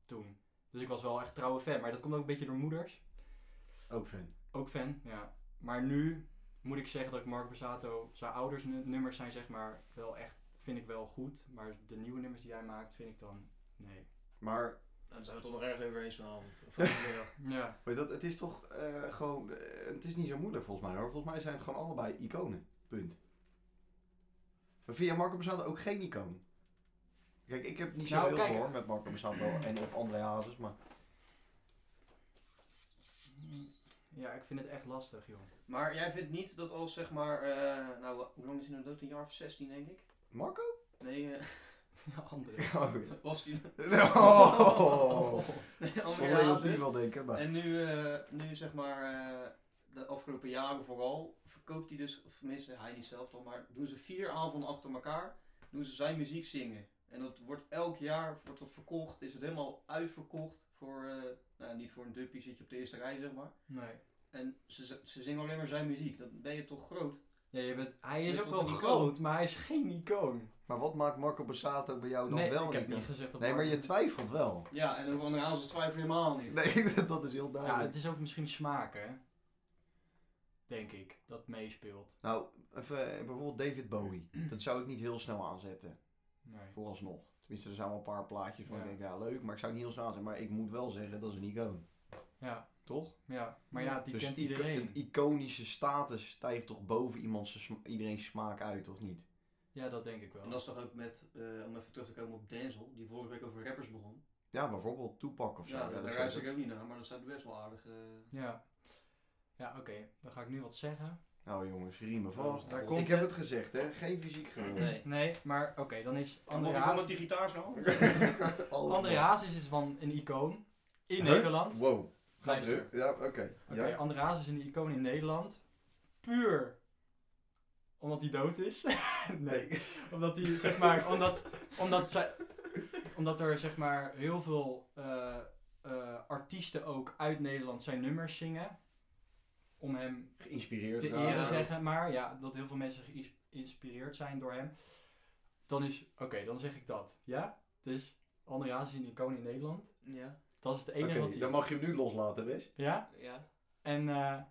Speaker 3: Toen. Dus ik was wel echt trouwe fan, maar dat komt ook een beetje door moeders.
Speaker 2: Ook fan.
Speaker 3: Ook fan, ja. Maar nu moet ik zeggen dat ik Mark Borsato, zijn ouders nu- nummers zijn zeg maar wel echt, vind ik wel goed. Maar de nieuwe nummers die hij maakt, vind ik dan, nee.
Speaker 2: Maar
Speaker 1: Nou, dan zijn we toch nog ergens over eens vanavond. Of vanmiddag.
Speaker 3: Ja,
Speaker 2: weet dat, het is toch eh, gewoon... eh, het is niet zo moeilijk volgens mij hoor. Volgens mij zijn het gewoon allebei iconen. Punt. Maar vind jij Marco Borsato ook geen icoon? Kijk, ik heb niet zo
Speaker 3: Nou,
Speaker 2: heel
Speaker 3: kijk.
Speaker 2: veel hoor met Marco Borsato en of André Hazes, maar...
Speaker 3: ja ik vind het echt lastig, joh.
Speaker 1: maar jij vindt niet dat als zeg maar, eh, nou hoe lang is hij nou dood? Een jaar of 16 denk ik?
Speaker 2: Marco?
Speaker 1: Nee, eh,
Speaker 3: Ja, andere.
Speaker 2: Oh, ja.
Speaker 1: was die
Speaker 2: Oh.
Speaker 1: nee, André
Speaker 2: Sorry dat die
Speaker 1: Hazes.
Speaker 2: wel denken, maar...
Speaker 1: dus. En nu, eh, nu zeg maar, eh, de afgelopen jaren vooral, verkoopt hij dus, of tenminste hij niet zelf dan, maar doen ze vier avonden achter elkaar, doen ze zijn muziek zingen. En dat wordt elk jaar, wordt dat verkocht, is het helemaal uitverkocht voor, eh, nou niet voor een duppie zit je op de eerste rij zeg maar.
Speaker 3: Nee.
Speaker 1: En ze, ze ze zingen alleen maar zijn muziek, dan ben je toch groot.
Speaker 3: Ja, je bent, hij is
Speaker 1: Je
Speaker 3: ook
Speaker 1: bent
Speaker 3: wel
Speaker 1: toch een
Speaker 3: groot, maar hij is geen icoon.
Speaker 2: Maar wat maakt Marco Borsato bij jou dan
Speaker 3: nee,
Speaker 2: wel
Speaker 3: ik
Speaker 2: een
Speaker 3: heb
Speaker 2: icoon?
Speaker 3: niet gezegd dat
Speaker 2: Nee, maar
Speaker 3: Mark-
Speaker 2: je twijfelt wel.
Speaker 1: Ja, en over andere Hazes twijfel je helemaal niet.
Speaker 2: Nee, dat is heel
Speaker 3: Ja,
Speaker 2: duidelijk.
Speaker 3: het is ook misschien smaak, hè. Denk ik, dat meespeelt.
Speaker 2: Nou, even, eh, bijvoorbeeld David Bowie. Dat zou ik niet heel snel aanzetten,
Speaker 3: Nee.
Speaker 2: vooralsnog. Tenminste, er zijn wel een paar plaatjes van
Speaker 3: Ja.
Speaker 2: ik denk, ja leuk, maar ik zou het niet heel snel aanzetten. Maar ik moet wel zeggen, dat is een icoon.
Speaker 3: Ja,
Speaker 2: Toch?
Speaker 3: ja. Maar ja, die
Speaker 2: Dus
Speaker 3: kent
Speaker 2: ico-
Speaker 3: iedereen.
Speaker 2: Het iconische status stijgt toch boven iemands sma- iedereen's smaak uit, of niet?
Speaker 3: Ja, dat denk ik wel.
Speaker 1: En dat is toch ook met, eh, om even terug te komen op Denzel, die vorige week over rappers begon.
Speaker 2: Ja, bijvoorbeeld Tupac of zo.
Speaker 1: Ja,
Speaker 2: Ja, dat
Speaker 1: daar
Speaker 2: is
Speaker 1: luister
Speaker 2: ook-
Speaker 1: ik ook niet naar, maar dat zijn best wel aardig. eh,
Speaker 3: Ja. Ja, oké. Dan ga ik nu wat zeggen.
Speaker 2: Nou jongens, riemen vast.
Speaker 3: Daar
Speaker 2: ik
Speaker 3: komt
Speaker 2: heb
Speaker 3: het.
Speaker 2: het gezegd, hè. Geen fysiek geweld.
Speaker 1: Nee.
Speaker 3: Nee, maar oké, dan is André
Speaker 1: Mag ik dan
Speaker 3: Hazes...
Speaker 1: met die gitaar snel?
Speaker 2: Allemaal.
Speaker 3: André Hazes is van een icoon in
Speaker 2: Huh?
Speaker 3: Nederland. Oké,
Speaker 2: Wow. Gaat
Speaker 3: Luister.
Speaker 2: terug. Ja, oké. Ja.
Speaker 3: André Hazes is een icoon in Nederland. Puur omdat hij dood is. nee, omdat hij, zeg maar, omdat, omdat, zij, omdat er, zeg maar, heel veel eh, eh, artiesten ook uit Nederland zijn nummers zingen. Om hem
Speaker 2: Geïnspireerd.
Speaker 3: te
Speaker 2: raar.
Speaker 3: eren zeggen, maar ja, dat heel veel mensen geïnspireerd zijn door hem. Dan is, oké, dan zeg ik dat. Ja? Dus André Hazes is een icoon in Nederland.
Speaker 1: Ja.
Speaker 3: Dat is het enige
Speaker 2: Oké,
Speaker 3: wat hij...
Speaker 2: dan mag je hem nu loslaten, Wes.
Speaker 3: Ja?
Speaker 1: Ja.
Speaker 3: En eh,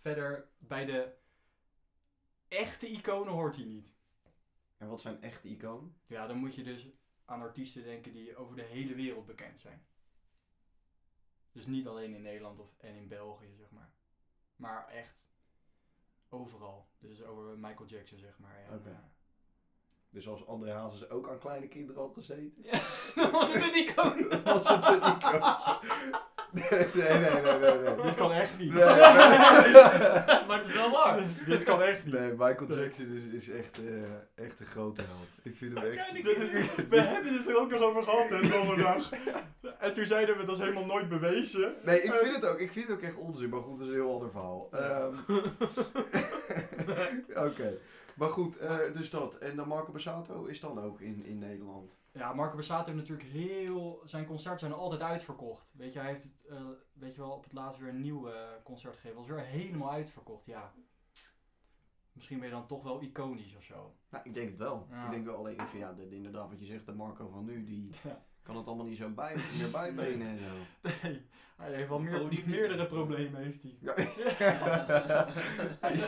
Speaker 3: verder, bij de echte iconen hoort hij niet.
Speaker 2: En wat zijn echte iconen?
Speaker 3: Ja, dan moet je dus aan artiesten denken die over de hele wereld bekend zijn. Dus niet alleen in Nederland of, en in België, zeg maar. Maar echt overal. Dus over Michael Jackson, zeg maar. En,
Speaker 2: Oké.
Speaker 3: eh,
Speaker 2: Dus als André Hazes ook aan kleine kinderen had gezeten,
Speaker 3: Ja, dan was het een icoon.
Speaker 2: dan was het een icoon. Nee, nee, nee, nee, nee. nee.
Speaker 3: Dit kan echt niet.
Speaker 2: Nee, nee.
Speaker 1: maar het is wel waar.
Speaker 3: Dit kan echt niet.
Speaker 2: Nee, Michael Jackson is, is echt, eh, echt een grote held. Ik vind hem echt...
Speaker 3: Dit is- we hebben het er ook nog over gehad hè, donderdag. En toen zeiden we dat is helemaal nooit bewezen.
Speaker 2: Nee, ik vind het ook, ik vind het ook echt onzin, maar goed, dat is een heel ander verhaal. Ehm, Oké, maar goed, eh, dus dat. En dan Marco Bassato is dan ook in, in Nederland.
Speaker 3: Ja, Marco Borsato heeft natuurlijk heel... Zijn concerten zijn altijd uitverkocht. Weet je, hij heeft eh, weet je wel, op het laatst weer een nieuw eh, concert gegeven. was weer helemaal uitverkocht, ja. Misschien ben je dan toch wel iconisch of zo.
Speaker 2: Nou, ik denk het wel.
Speaker 3: Ja.
Speaker 2: Ik denk wel alleen van ja, dat- inderdaad wat je zegt, de Marco van nu, die
Speaker 3: Ja.
Speaker 2: kan het allemaal niet zo bij, meer bijbenen en zo.
Speaker 3: Nee, hij heeft wel meer,
Speaker 1: Oh, die-
Speaker 3: meerdere problemen, heeft hij.
Speaker 2: Ja.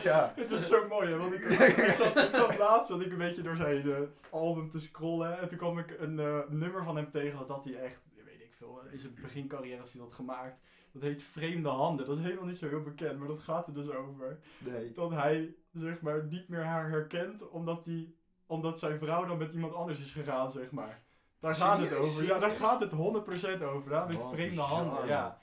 Speaker 2: ja.
Speaker 3: Het is zo mooi, hè? Want ik, ik, zat, ik zat laatst dat ik een beetje door zijn eh, album te scrollen. En toen kwam ik een eh, nummer van hem tegen. Dat had hij echt, weet ik veel, in zijn begincarrière heeft hij dat gemaakt. Dat heet Vreemde Handen. Dat is helemaal niet zo heel bekend, maar dat gaat er dus over.
Speaker 2: Nee.
Speaker 3: Dat hij, zeg maar, niet meer haar herkent. Omdat, hij, omdat zijn vrouw dan met iemand anders is gegaan, zeg maar. Daar gaat het
Speaker 2: Serieus?
Speaker 3: over. Ja, daar gaat het 100% over. Daar met
Speaker 2: Wat
Speaker 3: Vreemde
Speaker 2: bizar,
Speaker 3: Handen,
Speaker 2: man.
Speaker 3: ja.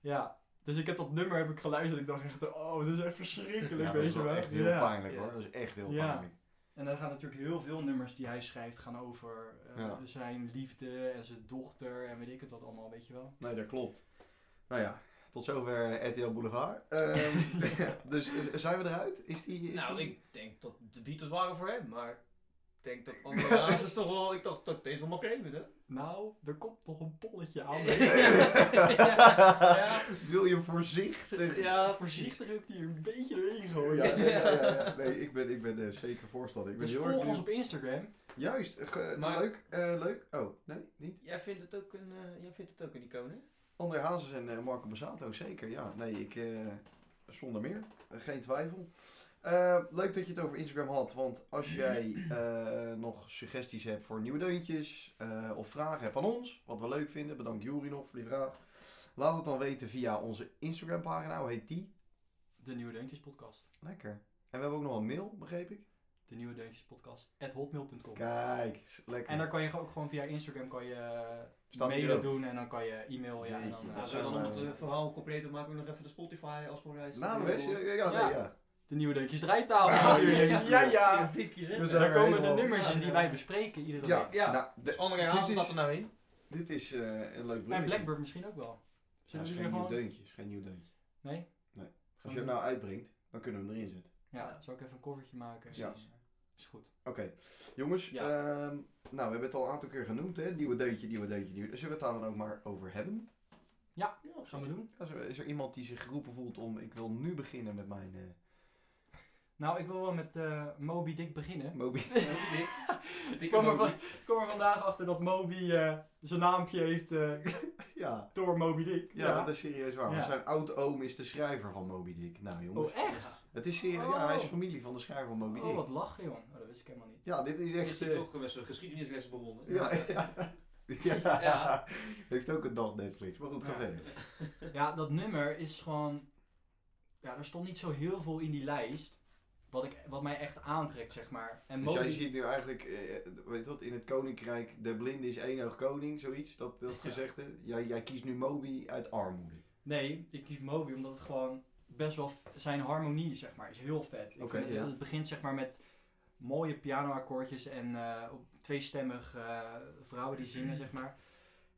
Speaker 3: Ja. Dus ik heb dat nummer heb ik geluisterd en ik dacht echt, oh, dit is echt verschrikkelijk,
Speaker 2: Ja, dat
Speaker 3: weet
Speaker 2: is
Speaker 3: je wel.
Speaker 2: wel echt heel
Speaker 3: Ja.
Speaker 2: pijnlijk
Speaker 1: Ja.
Speaker 2: hoor. Dat is echt heel
Speaker 3: Ja.
Speaker 2: pijnlijk.
Speaker 3: En dan gaan natuurlijk heel veel nummers die hij schrijft gaan over eh,
Speaker 2: Ja.
Speaker 3: zijn liefde en zijn dochter en weet ik het wat allemaal, weet je wel.
Speaker 2: Nee, dat klopt. Nou ja, tot zover RTL Boulevard. Ehm, dus eh, zijn we eruit? Is die... Is
Speaker 1: Nou,
Speaker 2: die...
Speaker 1: ik denk dat de Beatles waren voor hem, maar ik denk dat André Hazes toch wel, ik dacht dat deze wel mag even, hè?
Speaker 3: Nou, er komt nog een polletje aan.
Speaker 1: Ja.
Speaker 2: Wil je voorzichtig...
Speaker 1: Ja,
Speaker 3: Voorzichtig heeft hij er een beetje doorheen gegooid.
Speaker 2: Oh Ja, ja, ja, ja. Nee, ik ben, ik ben eh, zeker voorstander. Ik ben
Speaker 3: Dus
Speaker 2: heel
Speaker 3: volg
Speaker 2: erg
Speaker 3: ons
Speaker 2: benieuwd.
Speaker 3: op Instagram.
Speaker 2: Juist, eh, ge-
Speaker 1: Maar-
Speaker 2: leuk, eh, leuk. Oh, nee, niet.
Speaker 1: Jij vindt het ook een, eh, jij vindt het ook een icoon, hè?
Speaker 2: André Hazes en eh, Marco Bassato, zeker. Ja, nee, ik, eh, zonder meer. Eh, geen twijfel. Eh, leuk dat je het over Instagram had, want als jij eh, nog suggesties hebt voor nieuwe deuntjes eh, of vragen hebt aan ons, wat we leuk vinden, bedankt Jury nog voor die vraag. Laat het dan weten via onze Instagram pagina, hoe heet die?
Speaker 3: De Nieuwe Deuntjes podcast.
Speaker 2: Lekker. En we hebben ook nog een mail, begreep ik?
Speaker 3: De Nieuwe Deuntjes podcast at hotmail.com.
Speaker 2: Kijk, is lekker.
Speaker 3: En daar kan je ook gewoon via Instagram kan je eh,
Speaker 2: Staat die er
Speaker 3: mailen
Speaker 2: ook?
Speaker 3: doen en dan kan je e-mail. Ja, en dan,
Speaker 2: Jeetje,
Speaker 3: eh,
Speaker 2: dat
Speaker 1: Als we dan
Speaker 2: zou
Speaker 1: om
Speaker 2: maar-
Speaker 1: het eh, verhaal compleet te maken, we nog even de Spotify als vooruit.
Speaker 2: Nou, wees, ja, ja,
Speaker 3: Ja.
Speaker 2: nee, ja.
Speaker 3: de Nieuwe Deuntjes draaitafel
Speaker 2: Ja,
Speaker 3: natuurlijk.
Speaker 2: ja,
Speaker 3: Ja,
Speaker 1: Ja,
Speaker 3: ja.
Speaker 1: dit keer, hè?
Speaker 2: We zijn
Speaker 3: Daar
Speaker 2: er
Speaker 3: komen de
Speaker 2: helemaal-
Speaker 3: nummers in die
Speaker 1: Ja.
Speaker 3: wij bespreken iedere
Speaker 2: Ja,
Speaker 3: week.
Speaker 1: Ja.
Speaker 2: nou, de-
Speaker 1: Dus André Hazes
Speaker 2: Dit
Speaker 1: staat
Speaker 2: is-
Speaker 1: er nou in.
Speaker 2: dit is eh, een leuk
Speaker 3: En
Speaker 2: bruggetje.
Speaker 3: Blackbird misschien ook wel.
Speaker 2: Ja,
Speaker 3: Zullen
Speaker 2: is
Speaker 3: we
Speaker 2: geen
Speaker 3: er
Speaker 2: nieuw
Speaker 3: gewoon...
Speaker 2: deuntje, is geen nieuw deuntje.
Speaker 3: Nee?
Speaker 2: Als je hem nou uitbrengt, dan kunnen we hem erin zetten.
Speaker 3: Ja, zal ik even een covertje maken?
Speaker 1: Ja.
Speaker 3: Is goed.
Speaker 2: Oké, jongens,
Speaker 1: Ja.
Speaker 2: ehm, nou, we hebben het al een aantal keer genoemd, hè? Nieuwe deuntje, nieuwe deuntje, nieuwe. Zullen we het daar dan ook maar over hebben?
Speaker 1: Ja,
Speaker 3: Gaan we doen?
Speaker 2: Als er- Is er iemand die zich geroepen voelt om, ik wil nu beginnen met mijn eh
Speaker 3: Nou, ik wil wel met eh, Moby Dick beginnen.
Speaker 2: mobiel?
Speaker 1: Dikke
Speaker 3: Ik kwam, er
Speaker 1: Moby.
Speaker 3: van, ik kwam er vandaag achter dat Moby eh, zijn naampje heeft eh,
Speaker 2: ja.
Speaker 3: door Moby Dick.
Speaker 2: Ja, dat is serieus waar. want
Speaker 3: Ja.
Speaker 2: Zijn oud-oom is de schrijver van Moby Dick. Nou, jongens.
Speaker 3: Oh, echt?
Speaker 2: Het is serieus. Ja, hij is
Speaker 3: Oh.
Speaker 2: familie van de schrijver van Moby
Speaker 3: Oh,
Speaker 2: Dick.
Speaker 3: wat lachen, joh. Oh, dat wist ik helemaal niet.
Speaker 2: Ja, dit is
Speaker 1: Is
Speaker 2: echt...
Speaker 1: hij
Speaker 2: eh,
Speaker 1: toch met zijn geschiedenisles Oh begonnen?
Speaker 2: ja, ja. Ja.
Speaker 1: Ja.
Speaker 2: Heeft ook een dag Netflix. Maar goed, ga
Speaker 3: Ja.
Speaker 2: verder.
Speaker 3: Ja, dat nummer is gewoon... Ja, er stond niet zo heel veel in die lijst. Wat, ik, wat mij echt aantrekt, zeg maar. En
Speaker 2: Dus
Speaker 3: Moby
Speaker 2: jij ziet nu eigenlijk, eh, weet je wat, in het koninkrijk, de blinde is één oog koning, zoiets, dat, dat
Speaker 3: Ja.
Speaker 2: gezegde. Jij, jij kiest nu Moby uit armoede.
Speaker 3: Nee, ik kies Moby omdat het gewoon best wel f- zijn harmonie zeg maar is heel vet. Ik
Speaker 2: Oké,
Speaker 3: vind het-
Speaker 2: ja.
Speaker 3: Het begint zeg maar met mooie pianoakkoordjes en eh, op tweestemmig eh vrouwen die
Speaker 2: Mhm.
Speaker 3: zingen zeg maar.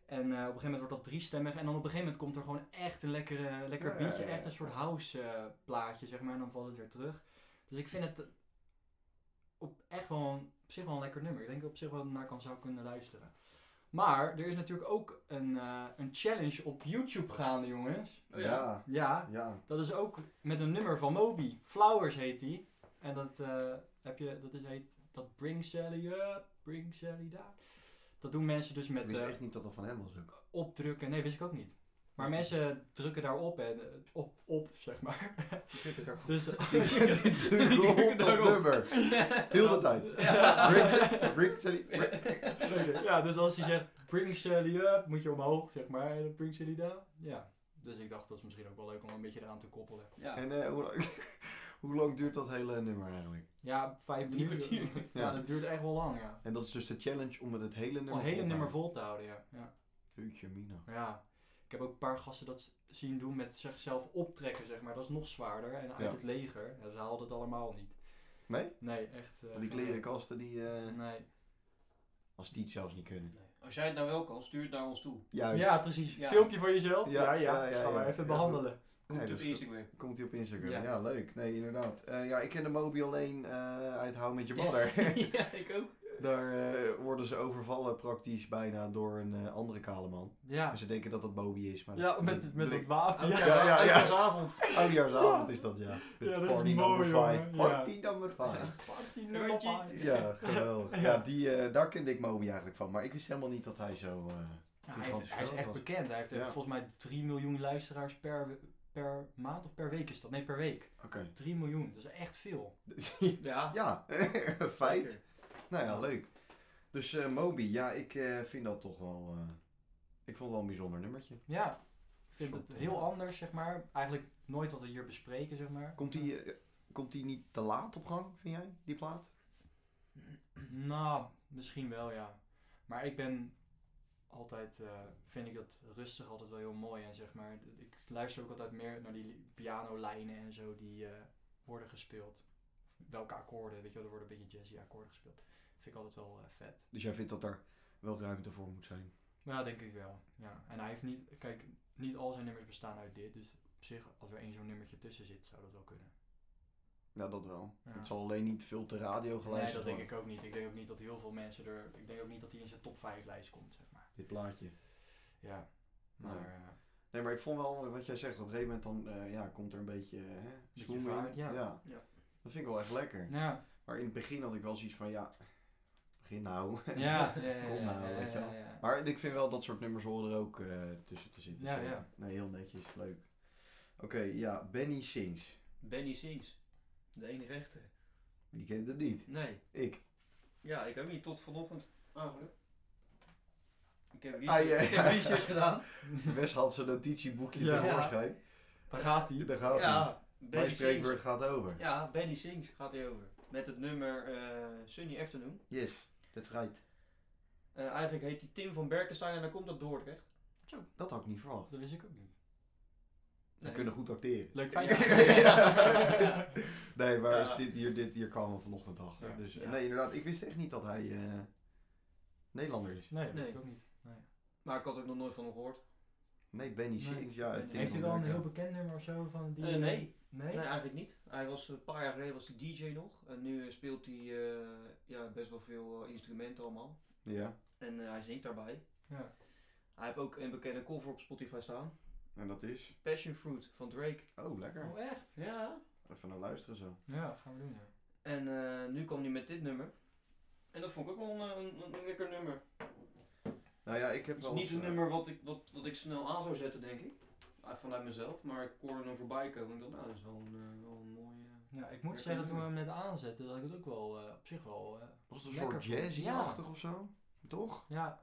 Speaker 3: En eh, op een gegeven moment wordt dat driestemmig en dan op een gegeven moment komt er gewoon echt een lekkere, lekker
Speaker 2: Ja, ja,
Speaker 3: beatje,
Speaker 2: ja.
Speaker 3: echt een soort house eh, plaatje zeg maar en dan valt het weer terug. Dus ik vind het op echt wel een- op zich wel een lekker nummer. Ik denk dat ik op zich wel naar kan zou kunnen luisteren. Maar er is natuurlijk ook een, eh, een challenge op YouTube gaande, jongens.
Speaker 1: Oh,
Speaker 2: ja.
Speaker 3: Ja,
Speaker 2: ja.
Speaker 3: dat is ook met een nummer van Moby. Flowers heet die. En dat eh, heb je, dat is heet, dat Bring Sally Up, Bring Sally Down. Dat doen mensen dus
Speaker 2: Ik
Speaker 3: met
Speaker 2: wist
Speaker 3: eh,
Speaker 2: echt niet dat dat van hem was ook.
Speaker 3: opdrukken. Nee, wist ik ook niet. Maar mensen drukken daarop en eh, op, op, zeg maar. Dus,
Speaker 2: Ik druk op dat nummer. Heel de tijd. Brick- Brick Sally- Brick- Nee, nee.
Speaker 3: Ja, dus als hij zegt Bring Sally Up, moet je omhoog, zeg maar. En dan Bring Sally Down. Ja. Dus ik dacht, dat is misschien ook wel leuk om een beetje eraan te koppelen.
Speaker 1: Ja.
Speaker 2: En eh, hoe, lang, hoe lang duurt dat hele nummer eigenlijk?
Speaker 3: Ja, vijf
Speaker 1: Drie
Speaker 3: minuten.
Speaker 1: kwartier.
Speaker 3: Ja. dat duurt echt wel lang, ja.
Speaker 2: En dat is dus de challenge om het, het hele nummer
Speaker 3: Om een hele
Speaker 2: te
Speaker 3: nummer
Speaker 2: houden.
Speaker 3: vol te houden, ja. ja.
Speaker 2: Jeetje, mina.
Speaker 3: Ja. Ik heb ook een paar gasten dat s- zien doen met zichzelf optrekken, zeg maar. Dat is nog zwaarder. En uit
Speaker 2: Ja.
Speaker 3: het leger. Ja, ze haalden het allemaal niet.
Speaker 2: Nee?
Speaker 3: Nee, echt. eh,
Speaker 2: Die klerenkasten die, eh,
Speaker 3: Nee.
Speaker 2: als die het zelfs niet kunnen.
Speaker 1: Nee. Als jij het nou wel kan, stuur het naar ons toe.
Speaker 2: Juist.
Speaker 3: Ja, precies.
Speaker 1: Ja.
Speaker 3: Filmpje voor jezelf.
Speaker 2: Ja,
Speaker 3: Ja, ja.
Speaker 2: ja, ja,
Speaker 3: Gaan
Speaker 2: ja.
Speaker 3: we even
Speaker 2: Ja,
Speaker 3: behandelen.
Speaker 1: Komt
Speaker 2: Nee,
Speaker 1: op
Speaker 2: dat is-
Speaker 1: Instagram.
Speaker 2: Komt hij op Instagram? Ja,
Speaker 3: Ja.
Speaker 2: leuk. Nee, inderdaad. Eh, ja, ik ken de Moby alleen eh, uit Hou Met Je Badder.
Speaker 1: ja, ik ook.
Speaker 2: Daar eh, worden ze overvallen praktisch bijna door een eh, andere kale man.
Speaker 3: Ja.
Speaker 2: En ze denken dat dat oh, Moby is. Maar
Speaker 3: Ja, met, het- met het wapen.
Speaker 1: Ja,
Speaker 3: Ja.
Speaker 2: ja, ja.
Speaker 1: Oudjaarsavond.
Speaker 2: Oudjaarsavond is dat, ja. Met
Speaker 3: Ja, dat is
Speaker 2: party
Speaker 3: mooi,
Speaker 2: number 5.
Speaker 3: jongen. Ja.
Speaker 2: Party number 5.
Speaker 3: Party nummer
Speaker 1: Rondje.
Speaker 3: vijf.
Speaker 2: Ja, geweldig. Ja, die, eh, daar kende ik Moby eigenlijk van. Maar ik wist helemaal niet dat hij zo... eh,
Speaker 3: Ja, hij,
Speaker 2: Gigantisch
Speaker 3: heeft- hij is
Speaker 2: groot
Speaker 3: echt
Speaker 2: was.
Speaker 3: bekend. Hij heeft eh,
Speaker 2: Ja.
Speaker 3: volgens mij 3 miljoen luisteraars per, per maand of per week is dat. Nee, per week.
Speaker 2: Oké.
Speaker 3: 3 miljoen, dat is echt veel.
Speaker 1: Ja.
Speaker 2: ja, feit.
Speaker 1: zeker.
Speaker 2: Nou ja, leuk. Dus eh, Moby, ja, ik eh, vind dat toch wel... eh, ik vond het wel een bijzonder nummertje.
Speaker 3: Ja, ik vind
Speaker 2: Soort,
Speaker 3: het heel
Speaker 2: eh, ja.
Speaker 3: anders, zeg maar. Eigenlijk nooit wat we hier bespreken, zeg maar.
Speaker 2: Komt die, eh, komt die niet te laat op gang, vind jij, die plaat?
Speaker 3: Nou, misschien wel, ja. Maar ik ben altijd, eh, vind ik dat rustig altijd wel heel mooi. En zeg maar, d- ik luister ook altijd meer naar die li- pianolijnen en zo die eh, worden gespeeld. Welke akkoorden, weet je wel, er worden een beetje jazzy akkoorden gespeeld. Vind ik altijd wel eh, vet.
Speaker 2: Dus jij vindt dat daar wel ruimte voor moet zijn?
Speaker 3: Maar ja, denk ik wel. Ja. En hij heeft niet, kijk, niet al zijn nummers bestaan uit dit. Dus op zich, als er één zo'n nummertje tussen zit, zou dat wel kunnen.
Speaker 2: Nou, dat wel.
Speaker 3: Ja.
Speaker 2: Het zal alleen niet veel te radio
Speaker 3: Nee,
Speaker 2: geluisterd
Speaker 3: dat denk ik ook niet. Ik denk ook niet dat heel veel mensen er. Ik denk ook niet dat hij in zijn top 5 lijst komt, zeg maar.
Speaker 2: Dit plaatje.
Speaker 3: Ja.
Speaker 2: Nee.
Speaker 3: Maar. eh,
Speaker 2: Nee, maar ik vond wel eh, wat jij zegt. Op een gegeven moment dan, eh, ja, komt er een beetje... eh, Hè,
Speaker 3: Beetje
Speaker 2: zoen in.
Speaker 3: vaart, ja.
Speaker 1: Ja.
Speaker 2: Dat vind ik wel echt lekker.
Speaker 3: ja.
Speaker 2: Maar in het begin had ik wel zoiets van, ja, begin nou.
Speaker 3: Ja, ja, ja, ja,
Speaker 2: Kom nou,
Speaker 3: ja,
Speaker 2: weet je
Speaker 3: ja,
Speaker 2: wel.
Speaker 3: ja.
Speaker 2: Maar ik vind wel dat soort nummers horen er ook eh, tussen te zitten.
Speaker 3: Ja,
Speaker 2: zeker.
Speaker 3: ja.
Speaker 2: Nee, heel netjes. Leuk. Oké, ja, Benny Sings.
Speaker 1: Benny Sings. De ene rechte.
Speaker 2: Wie kent hem niet?
Speaker 1: Nee.
Speaker 2: Ik.
Speaker 1: Ja, ik ook niet. Tot vanochtend. Eigenlijk. Ik heb
Speaker 2: Ah,
Speaker 1: research,
Speaker 2: ja, ja. Oh,
Speaker 1: ik heb research gedaan.
Speaker 2: Wes had zijn notitieboekje
Speaker 3: Ja.
Speaker 2: tevoorschijn.
Speaker 3: Daar gaat hij.
Speaker 2: Daar gaat hij.
Speaker 1: Ja,
Speaker 2: Mijn
Speaker 1: Benny Sings.
Speaker 2: spreekbeurt gaat over.
Speaker 1: Ja, Benny Sings gaat hij over. Met het nummer eh, Sunny Afternoon.
Speaker 2: Yes, that's right.
Speaker 1: Eh, eigenlijk heet hij Tim van Berkenstein en dan komt dat Dordrecht.
Speaker 2: Dat had ik niet verwacht.
Speaker 3: Oh, Dat wist ik ook niet.
Speaker 2: We kunnen goed acteren.
Speaker 3: Leuk
Speaker 1: feitje. Ja. Ja.
Speaker 2: Nee, maar
Speaker 1: Ja.
Speaker 2: dit, hier, dit hier kwamen we vanochtend achter.
Speaker 3: Ja.
Speaker 2: Dus eh,
Speaker 1: Ja.
Speaker 2: nee, inderdaad. Ik wist echt niet dat hij eh, Nederlander is.
Speaker 3: Nee, dat
Speaker 1: Nee.
Speaker 3: wist ik ook niet. Nee.
Speaker 1: Maar ik had ook nog nooit van hem gehoord.
Speaker 2: Nee, Benny
Speaker 3: Nee.
Speaker 2: Sings. Ja,
Speaker 1: Benny.
Speaker 2: Tim
Speaker 3: Heeft
Speaker 2: van
Speaker 3: hij wel een
Speaker 2: Berkel.
Speaker 3: heel bekend nummer of zo van die?
Speaker 1: Eh, nee.
Speaker 3: Nee?
Speaker 1: nee, eigenlijk niet. Hij was eh, een paar jaar geleden was hij DJ nog. En nu eh, speelt hij eh, ja, best wel veel eh, instrumenten allemaal.
Speaker 2: Ja,
Speaker 1: En eh, hij zingt daarbij.
Speaker 3: Ja.
Speaker 1: Hij heeft ook een bekende cover op Spotify staan.
Speaker 2: en dat is...
Speaker 1: Passion Fruit van Drake.
Speaker 2: Oh, lekker.
Speaker 3: Oh, echt?
Speaker 1: Ja.
Speaker 2: Even naar luisteren zo.
Speaker 3: Ja, gaan we doen, ja.
Speaker 1: En eh, nu kwam hij met dit nummer. En dat vond ik ook wel een, eh, een, een lekker nummer.
Speaker 2: Nou ja, ik heb
Speaker 1: Het is
Speaker 2: wel
Speaker 1: niet
Speaker 2: eens,
Speaker 1: een
Speaker 2: eh,
Speaker 1: nummer wat ik, wat, wat ik snel aan zou zetten, denk ik. Ah, Vanuit mezelf, maar ik hoorde hem voorbij komen. Ik dacht, nou, dat is wel een, eh, wel een mooie.
Speaker 3: Ja, ik moet zeggen, toen we hem net aanzetten, dat ik het ook wel eh, op zich wel. eh,
Speaker 2: Was het een
Speaker 3: Lekker
Speaker 2: soort
Speaker 3: vond.
Speaker 2: jazzy-achtig of zo? Toch?
Speaker 3: ja.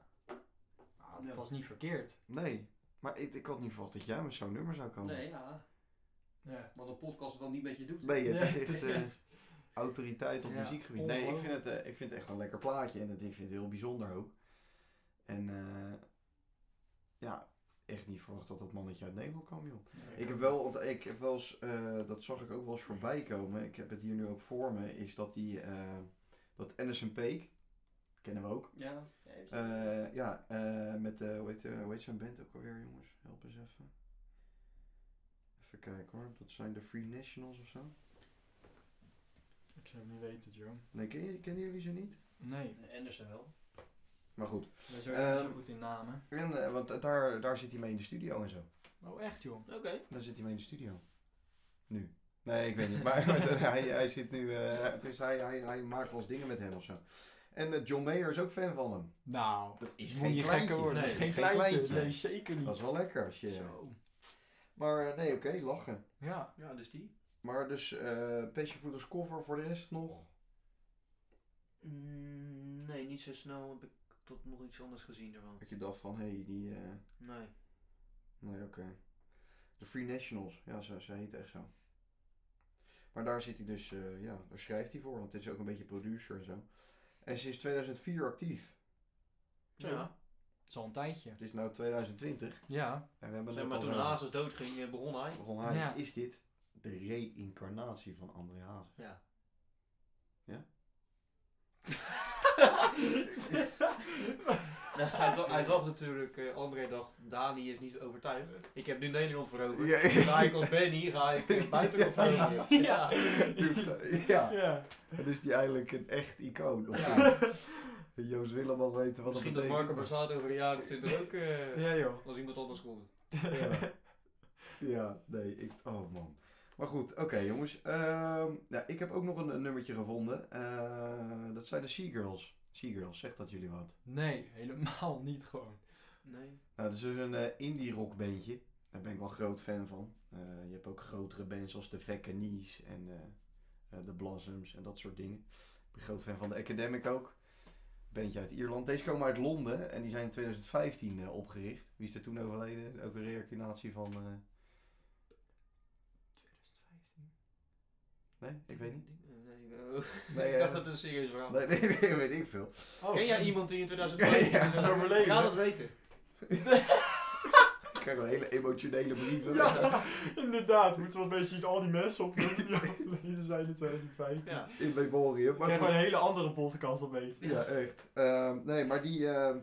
Speaker 3: Ah, dat
Speaker 1: Ja.
Speaker 3: was niet verkeerd.
Speaker 2: Nee. Maar ik, ik had niet verwacht dat jij met zo'n nummer zou komen.
Speaker 1: Nee, ja.
Speaker 3: Ja.
Speaker 1: Wat een podcast wel niet met je doet.
Speaker 2: Nee, het
Speaker 3: Ja,
Speaker 2: is echt eh,
Speaker 3: precies.
Speaker 2: autoriteit op
Speaker 3: Ja,
Speaker 2: muziekgebied. Nee, ik vind,
Speaker 3: ongelooflijk.
Speaker 2: het, eh, ik vind het echt een lekker plaatje en het, ik vind het heel bijzonder ook. En eh, ja, echt niet verwacht dat dat mannetje uit Nederland kwam, joh. Ik heb wel, want ik heb wel eens, eh, dat zag ik ook wel eens voorbij komen. Ik heb het hier nu ook voor me, is dat die, eh, dat Anderson Peek, kennen we ook.
Speaker 1: Ja, even.
Speaker 2: Eh, ja, eh, met, eh hoe, heet, eh, hoe heet zijn band ook alweer, jongens? Help eens even. Even kijken hoor, dat zijn de Free Nationals of zo.
Speaker 3: Ik zou het niet weten, Joe.
Speaker 2: Nee, ken je- kennen jullie ze niet?
Speaker 3: Nee,
Speaker 1: Anderson wel.
Speaker 2: Maar goed.
Speaker 3: wij zijn ook niet
Speaker 2: Ehm.
Speaker 3: zo goed in namen.
Speaker 2: En, eh, want eh, daar, daar zit hij mee in de studio en zo.
Speaker 3: Oh, echt, joh.
Speaker 1: Oké.
Speaker 2: Daar zit hij mee in de studio. Nu. Nee, ik weet niet. Maar hij, hij zit nu. eh dus hij, hij, hij maakt wel eens dingen met hem of zo. En eh, John Mayer is ook fan van hem.
Speaker 3: Nou,
Speaker 2: Dat is
Speaker 3: moet
Speaker 2: geen
Speaker 3: niet
Speaker 2: kleintje.
Speaker 3: gekker worden.
Speaker 2: Nee,
Speaker 3: dat is geen
Speaker 2: geen
Speaker 3: kleintje.
Speaker 2: kleintje.
Speaker 3: Nee, zeker niet.
Speaker 2: Dat is wel lekker als je.
Speaker 3: Zo.
Speaker 2: Maar eh, nee, oké, lachen.
Speaker 3: Ja.
Speaker 1: Ja, dus die.
Speaker 2: Maar dus eh Passion Fruit als cover voor de rest nog.
Speaker 1: Mm, nee, niet zo snel heb ik tot nog iets anders gezien ervan.
Speaker 2: Dat je dacht van hé, hey, die. eh,
Speaker 1: Nee.
Speaker 2: Nee, oké. De Free Nationals, ja, ze, ze heet echt zo. Maar daar zit hij dus, eh, ja, daar schrijft hij voor, want het is ook een beetje producer en zo. En sinds 2004 actief.
Speaker 1: Zo.
Speaker 3: Ja. Dat is al een tijdje.
Speaker 2: Het is nu 2020.
Speaker 3: Ja.
Speaker 2: En we hebben
Speaker 1: Zeg
Speaker 2: het
Speaker 1: maar,
Speaker 2: al
Speaker 1: toen
Speaker 2: zo-
Speaker 1: Hazes doodging, eh, begon hij.
Speaker 2: Ron Haas,
Speaker 3: Ja.
Speaker 2: is dit de reïncarnatie van André Hazes?
Speaker 1: Ja.
Speaker 2: Ja?
Speaker 1: Nou, hij, dacht, hij dacht natuurlijk, eh, André dacht, Dani is niet overtuigd. Ik heb nu Nederland veroverd.
Speaker 2: Ja.
Speaker 1: Ga ik als Benny, ga ik eh, buitenland
Speaker 2: Ja.
Speaker 1: veroveren. Ja.
Speaker 2: Dus, ja.
Speaker 3: Ja.
Speaker 2: Dan is hij eigenlijk een echt icoon. Of
Speaker 1: Ja.
Speaker 2: Joost Willem al weten wat
Speaker 1: Misschien
Speaker 2: dat
Speaker 1: dat
Speaker 2: betekent.
Speaker 1: Marco Borsato over een jaar of twintig ook eh,
Speaker 3: Ja, joh.
Speaker 1: als iemand anders komt.
Speaker 2: Ja. ja, nee, ik... Oh man. Maar goed, oké jongens. Ehm, ja, ik heb ook nog een, een nummertje gevonden. Eh, dat zijn de Seagirls. Seagirls, zegt dat jullie wat?
Speaker 3: Nee, helemaal niet gewoon.
Speaker 1: Nee.
Speaker 2: Nou, dat is dus een eh, indie rock bandje. Daar ben ik wel groot fan van. Eh, je hebt ook grotere bands als de Vecanies en eh, eh, de Blossoms en dat soort dingen. Ik ben groot fan van de Academic ook. Bandje uit Ierland. Deze komen uit Londen en die zijn in 2015 eh, opgericht. Wie is er toen overleden? Ook een reïncarnatie van... eh,
Speaker 3: 2015.
Speaker 2: Nee, ik weet niet.
Speaker 1: Hm? Nee, eh,
Speaker 2: Nee,
Speaker 1: ik dacht
Speaker 2: eh,
Speaker 1: dat het een serieus verhaal
Speaker 2: Nee, nee, nee, weet ik veel.
Speaker 3: Oh.
Speaker 1: Ken jij iemand die in 2015
Speaker 2: Ja, ja.
Speaker 1: is
Speaker 3: Is overleden?
Speaker 1: Ga dat weten.
Speaker 2: Ik krijg wel hele emotionele brieven.
Speaker 3: Ja, inderdaad. Moeten we een beetje al die mensen opnemen die overleden zijn in 2015.
Speaker 1: Ja.
Speaker 2: In memoriam.
Speaker 3: Ik
Speaker 2: Maar
Speaker 3: krijg
Speaker 2: goed.
Speaker 3: gewoon een hele andere podcast op beetje.
Speaker 2: Ja, echt. Ehm, nee, maar die, ehm,